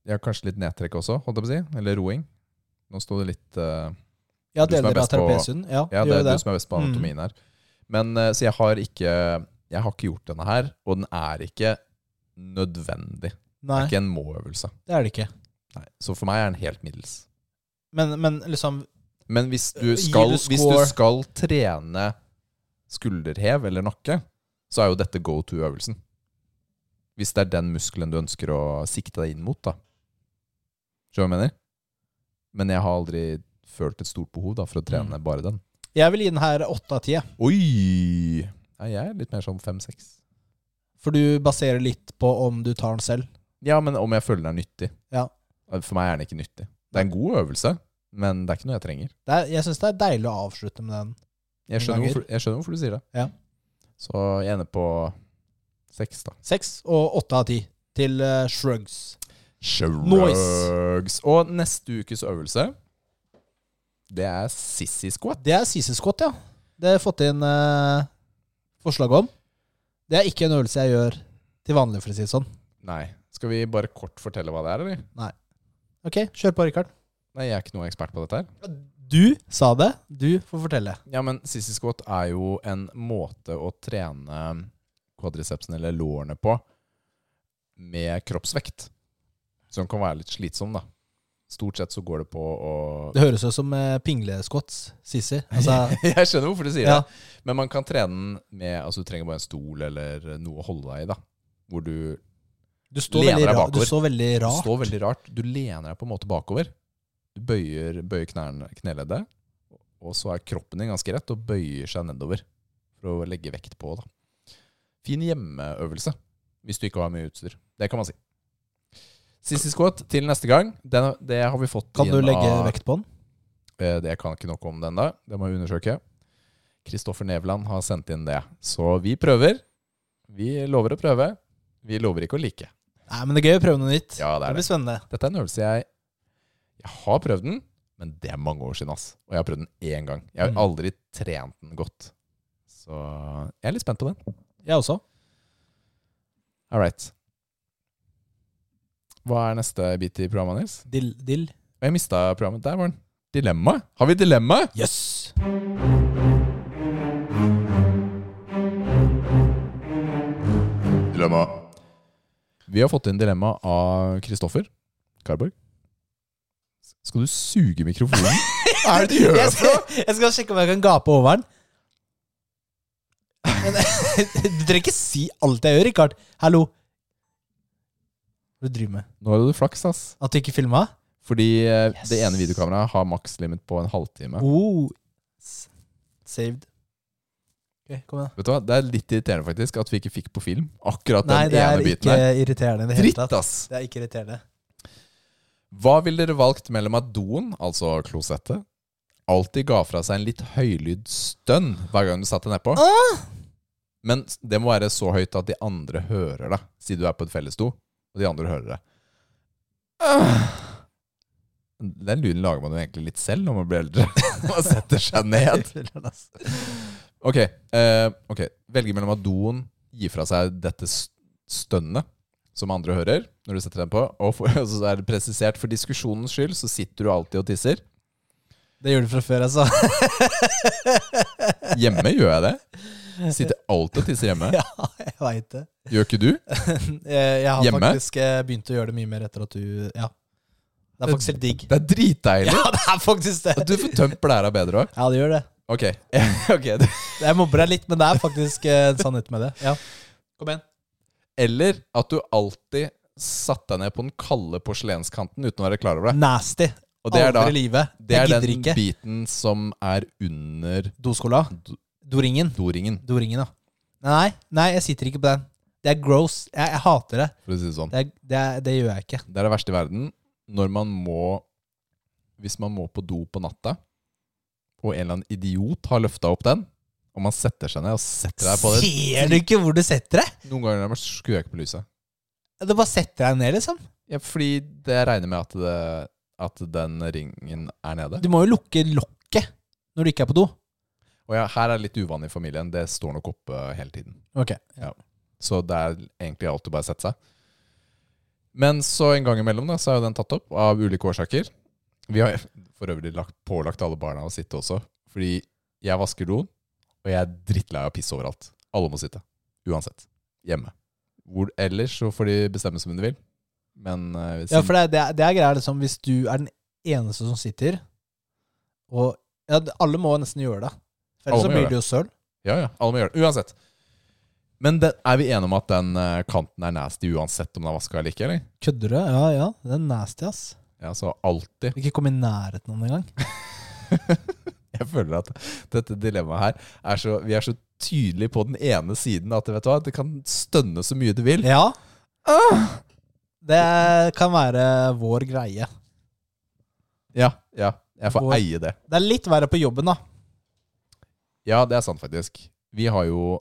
B: ja, kanskje litt nedtrekk også, holdt jeg på å si. Eller roing. Nå sto det litt eh,
A: Ja,
B: Du som er
A: deler av
B: best på-
A: trapesiusen. Ja,
B: Ja,
A: du
B: det
A: gjør
B: er
A: det. Mm.
B: du som er best på anatomien her. Men eh, så jeg har ikke Jeg har ikke gjort denne her, og den er ikke nødvendig. Det
A: Nei,
B: er ikke en må-øvelse.
A: det er det ikke.
B: Nei, Så for meg er den helt middels.
A: Men, men liksom
B: Men hvis du
A: Eh, gi
B: skal,
A: det
B: hvis du
A: score.
B: skal trene skulderhev eller nakke, så er jo dette go to-øvelsen. Hvis det er den muskelen du ønsker å sikte deg inn mot, da. Skjønner du hva jeg mener? Men jeg har aldri følt et stort behov da, for å trene
A: Mm.
B: bare den.
A: Jeg vil gi den her åtte av ti. jeg.
B: Oi! Ja, jeg er litt mer sånn fem-seks.
A: For du baserer litt på om du tar den selv.
B: Ja, men om jeg føler den er nyttig. Eh,
A: Ja.
B: For meg er den ikke nyttig. Det er en god øvelse, men det er ikke noe jeg trenger.
A: Det er, jeg syns det er deilig å avslutte med den.
B: Jeg skjønner,
A: Ganger.
B: hvorfor, jeg skjønner hvorfor du sier det.
A: Ja.
B: Så jeg ender på seks, da.
A: Seks og åtte av ti til eh, shrugs.
B: Shrugs. Og neste ukes øvelse, det er sissy squat.
A: Det er CC squat, ja. Det har jeg fått inn eh, forslag om. Det er ikke en øvelse jeg gjør til vanlig, for å si det sånn.
B: Nei. Skal vi bare kort fortelle hva det er, eller?
A: Ok, kjør på, Rikard.
B: Nei, jeg er ikke noe ekspert på dette her.
A: Du sa det. Du får fortelle.
B: Ja, men sissy squat er jo en måte å trene kvadricepsen eller lårene på med kroppsvekt. Som kan være litt slitsom, da. Stort sett så går det på å
A: Det høres ut som uh, pinglesquats, Sissy. Altså,
B: Jeg skjønner hvorfor du sier
A: Ja.
B: det. Men man kan trene den med Altså, du trenger bare en stol eller noe å holde deg i, da. Hvor du
A: du står
B: Lener
A: veldig,
B: deg
A: ra du
B: bakover.
A: står veldig
B: du
A: rart.
B: står veldig rart. Du lener deg på en måte bakover. Du bøyer, bøyer knærne, kneleddet, og så er kroppen din ganske rett og bøyer seg nedover for å legge vekt på. da. Fin hjemmeøvelse hvis du ikke har mye utstyr. Det kan man si. Sissy squat til neste gang. Den, det har vi fått
A: Kan du
B: inn
A: legge
B: av
A: vekt på den?
B: Eh, Det kan ikke nok om den da. Det må vi undersøke. Kristoffer Nevland har sendt inn det. Så vi prøver. Vi lover å prøve. Vi lover ikke å like.
A: Nei, men det er gøy å prøve noe nytt.
B: Ja, det er
A: det
B: det.
A: blir spennende.
B: Dette er en øvelse jeg Jeg har prøvd den, men det er mange år siden, ass. Og jeg har prøvd den én gang. Jeg har
A: Mm.
B: aldri trent den godt. Så jeg er litt spent på den.
A: Jeg også.
B: All right. Hva er neste bit i programmet, Nils?
A: Dill, dill.
B: Jeg mista programmet. Der var den. Dilemma? Har vi dilemma?
A: Yes!
B: Dilemma. Vi har fått inn dilemma av Kristoffer Karborg. Skal du suge mikrofonen? Hva er det du gjør?
A: Jeg skal, jeg skal sjekke om jeg kan gape over den. Men, du trenger ikke si alt jeg gjør, Rikard. Hallo. Hva driver du driver med?
B: Nå hadde du flaks, ass.
A: At du ikke filma?
B: Fordi eh,
A: Yes.
B: det ene videokameraet har makslimit på en halvtime.
A: Oh. S- Saved. Ok, kom igjen.
B: Vet du hva? Det er litt irriterende faktisk at vi ikke fikk på film akkurat
A: Nei,
B: den
A: det
B: ene
A: er
B: biten
A: ikke
B: her.
A: irriterende i det hele
B: Dritt,
A: tatt.
B: ass!
A: Det er ikke irriterende.
B: Hva ville dere valgt mellom at doen, altså klosettet, alltid ga fra seg en litt høylyd stønn hver gang du satte nedpå? Men det må være så høyt at de andre hører det, si du er på et fellesdo, og de andre hører det. Den lyden lager man jo egentlig litt selv når man blir eldre. Man setter seg ned. Ok, eh, ok. Velge mellom at doen gir fra seg dette s- stønnet som andre hører, når du setter den på, og for, og så er det presisert for diskusjonens skyld, så sitter du alltid og tisser.
A: Det gjør du fra før, altså.
B: Hjemme gjør jeg det. Sitter alltid og tisser hjemme.
A: Ja, jeg veit det.
B: Gjør ikke du?
A: Jeg jeg har
B: Hjemme?
A: faktisk eh, begynt å gjøre det mye mer etter at du Ja. Det er faktisk helt digg.
B: Det er dritdeilig.
A: Ja, det er faktisk det.
B: At du får tømt blæra bedre òg.
A: Ja, det gjør det.
B: Ok. ok.
A: Jeg mobber deg litt, men det er faktisk eh, en sannhet med det. Ja. Kom igjen.
B: Eller at du alltid satte deg ned på den kalde porselenskanten uten å være klar over det.
A: Nasty.
B: Og det er da
A: Aldri i livet.
B: det er
A: jeg
B: den
A: gidder ikke.
B: biten som er under
A: Doskola.
B: do-
A: Doringen.
B: doringen,
A: Doringen, ja. Nei, nei, jeg sitter ikke på den. Det er gross. Jeg, jeg hater det.
B: for å si det sånn.
A: Det, er, det, er, det gjør jeg ikke.
B: Det er det verste i verden. Når man må Hvis man må på do på natta, og en eller annen idiot har løfta opp den, og man setter seg ned og setter deg på det
A: Ser du ikke hvor du setter deg?
B: Noen ganger er man- skrur jeg ikke på lyset.
A: Du bare setter deg ned, liksom.
B: Ja, fordi det jeg regner med at, det, at den ringen er nede.
A: Du må jo lukke lokket når du ikke er på do.
B: Og ja, her er det litt uvanlig i familien. Det står nok oppe hele tiden.
A: Ok.
B: Så det er egentlig alt du bare setter seg. Men så en gang imellom da, så er jo den tatt opp av ulike årsaker. Vi har for øvrig lagt, pålagt alle barna å sitte også. Fordi jeg vasker doen, og jeg er drittlei av å pisse overalt. Alle må sitte. Uansett. Hjemme. Hvor ellers så får de bestemme som de vil. Men eh,
A: Ja,
B: siden-
A: for det, er- det, er- det er greia liksom Hvis du er den eneste som sitter Og ja, alle må nesten gjøre det For
B: Alle
A: ellers
B: må
A: så
B: gjøre
A: blir det jo søl
B: Ja, ja. Alle må gjøre det. Uansett. Men den, er vi enige om at den eh, kanten er nasty uansett om den er vaska eller ikke? eller?
A: Kødder du? Ja, ja, det er nasty ass
B: Ja, så alltid.
A: Ikke kom i nærheten av den engang
B: Jeg føler at dette dilemmaet her er så, Vi er så tydelige på den ene siden at vet du hva, det kan stønne så mye du vil.
A: Ja Det kan være vår greie
B: Ja, ja. Jeg får
A: Vår-
B: eie det.
A: Det er litt verre på jobben da
B: Ja, det er sant, faktisk. Vi har jo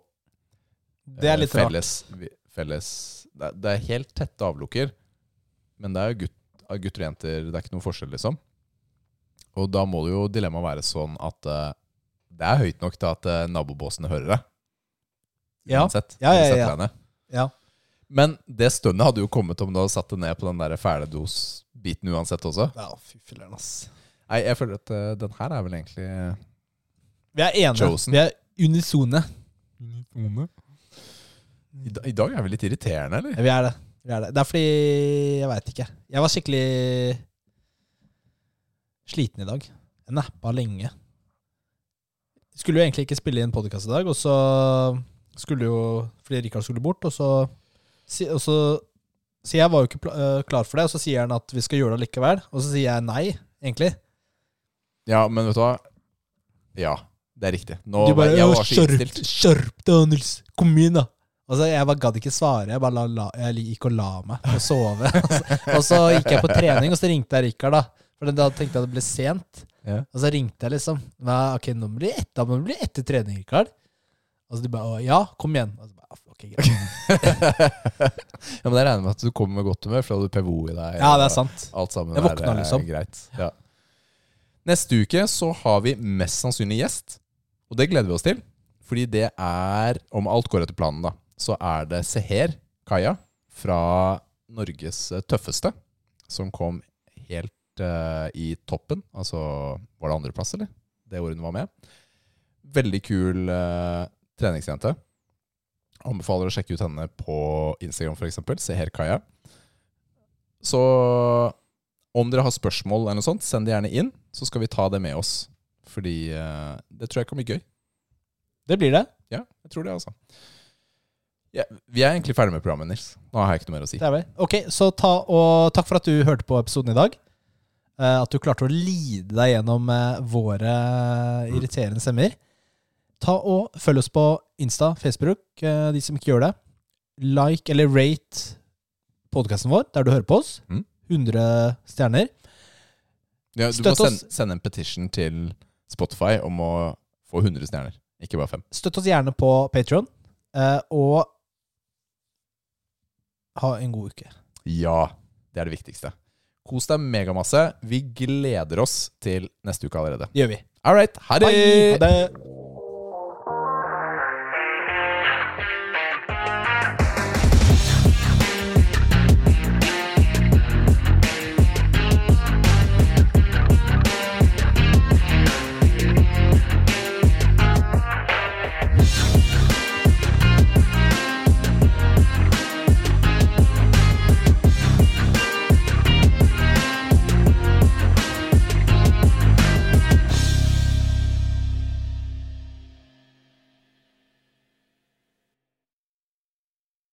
A: Det er litt
B: eh,
A: rart
B: felles, vi, felles det, er, det er helt tette avlukker, men det er jo gutt, av gutter og jenter. Det er ikke noen forskjell, liksom. Og da må det jo dilemmaet være sånn at eh, det er høyt nok til at eh, nabobåsene hører det.
A: Ja.
B: Uansett.
A: Ja,
B: når du
A: ja,
B: setter
A: ja.
B: deg ned.
A: Ja
B: Men det stønnet hadde jo kommet om du hadde satt det ned på den der fæle dos-biten uansett også.
A: Ja, fy filleren ass
B: Nei, jeg føler at eh, den her er vel egentlig
A: Vi er enige
B: Chosen.
A: Vi er unisone
B: I, da, I dag er vi litt irriterende, eller?
A: Ja, Vi er det. Vi er det. det er fordi Jeg veit ikke. Jeg var skikkelig sliten i dag. Jeg nappa lenge. Skulle jo egentlig ikke spille inn podkast i dag, og så skulle jo Fordi Rikard skulle bort, og så, si- og så Så jeg var jo ikke pla- øh, klar for det, og så sier han at vi skal gjøre det likevel, og så sier jeg nei, egentlig.
B: Ja, men vet du hva? Ja, det er riktig. Nå,
A: Du bare
B: jeg
A: «Å,
B: var så
A: skjerp-
B: innstilt.
A: Skjerp deg, Nils! Kom igjen, da! Og så Altså, Jeg bare gadd ikke svare. Jeg bare la, la, jeg gikk og la meg og sove. og, så, og så gikk jeg på trening, og så ringte jeg Rikard, da. For da tenkte jeg det ble sent.
B: Ja.
A: Og så ringte jeg liksom. Nei, ok, nå blir det etter, nå blir det etter trening, Rikard. Og så de bare «Å, Ja, kom igjen. Og så bare, «Ah, ok, greit.
B: ja, men jeg regner med at du kommer med godt humør, for da hadde du PVO i deg.
A: Ja, det er sant.
B: og Alt sammen
A: Jeg våkna,
B: er, eh,
A: liksom.
B: greit. Ja. Neste uke så har vi mest sannsynlig gjest, og det gleder vi oss til. Fordi det er, om alt går etter planen, da, så er det Seher Kaja fra Norges tøffeste, som eh, kom helt eh, i toppen. Altså var det andreplass, eller? Det året hun var med. Veldig kul eh, treningsjente. Anbefaler å sjekke ut henne på Instagram, f.eks. Seher Kaya. Så om dere har spørsmål eller noe sånt, send det gjerne inn, så skal vi ta det med oss. Fordi eh, det tror jeg kan bli gøy.
A: Det blir det.
B: Ja, jeg tror det, altså. Ja, vi er egentlig ferdig med programmet, Nils. Nå har jeg ikke noe mer å si.
A: det er vel. Ok, så ta og takk for at du hørte på episoden i dag. Eh, At du klarte å lide deg gjennom eh, våre eh,
B: Mm.
A: irriterende stemmer. Ta og Følg oss på Insta, Facebook, eh, de som ikke gjør det. Like eller rate podkasten vår der du hører på oss.
B: Mm.
A: 100 stjerner.
B: Ja, du må
A: Støtt oss.
B: sende, sende en petition til Spotify om å få 100 stjerner, ikke bare 5.
A: Støtt oss gjerne på Patreon eh, og ha en god uke.
B: Ja, det er det viktigste. Kos deg megamasse. Vi gleder oss til neste uke allerede.
A: Det gjør vi.
B: All right, ha det!
A: Ha det!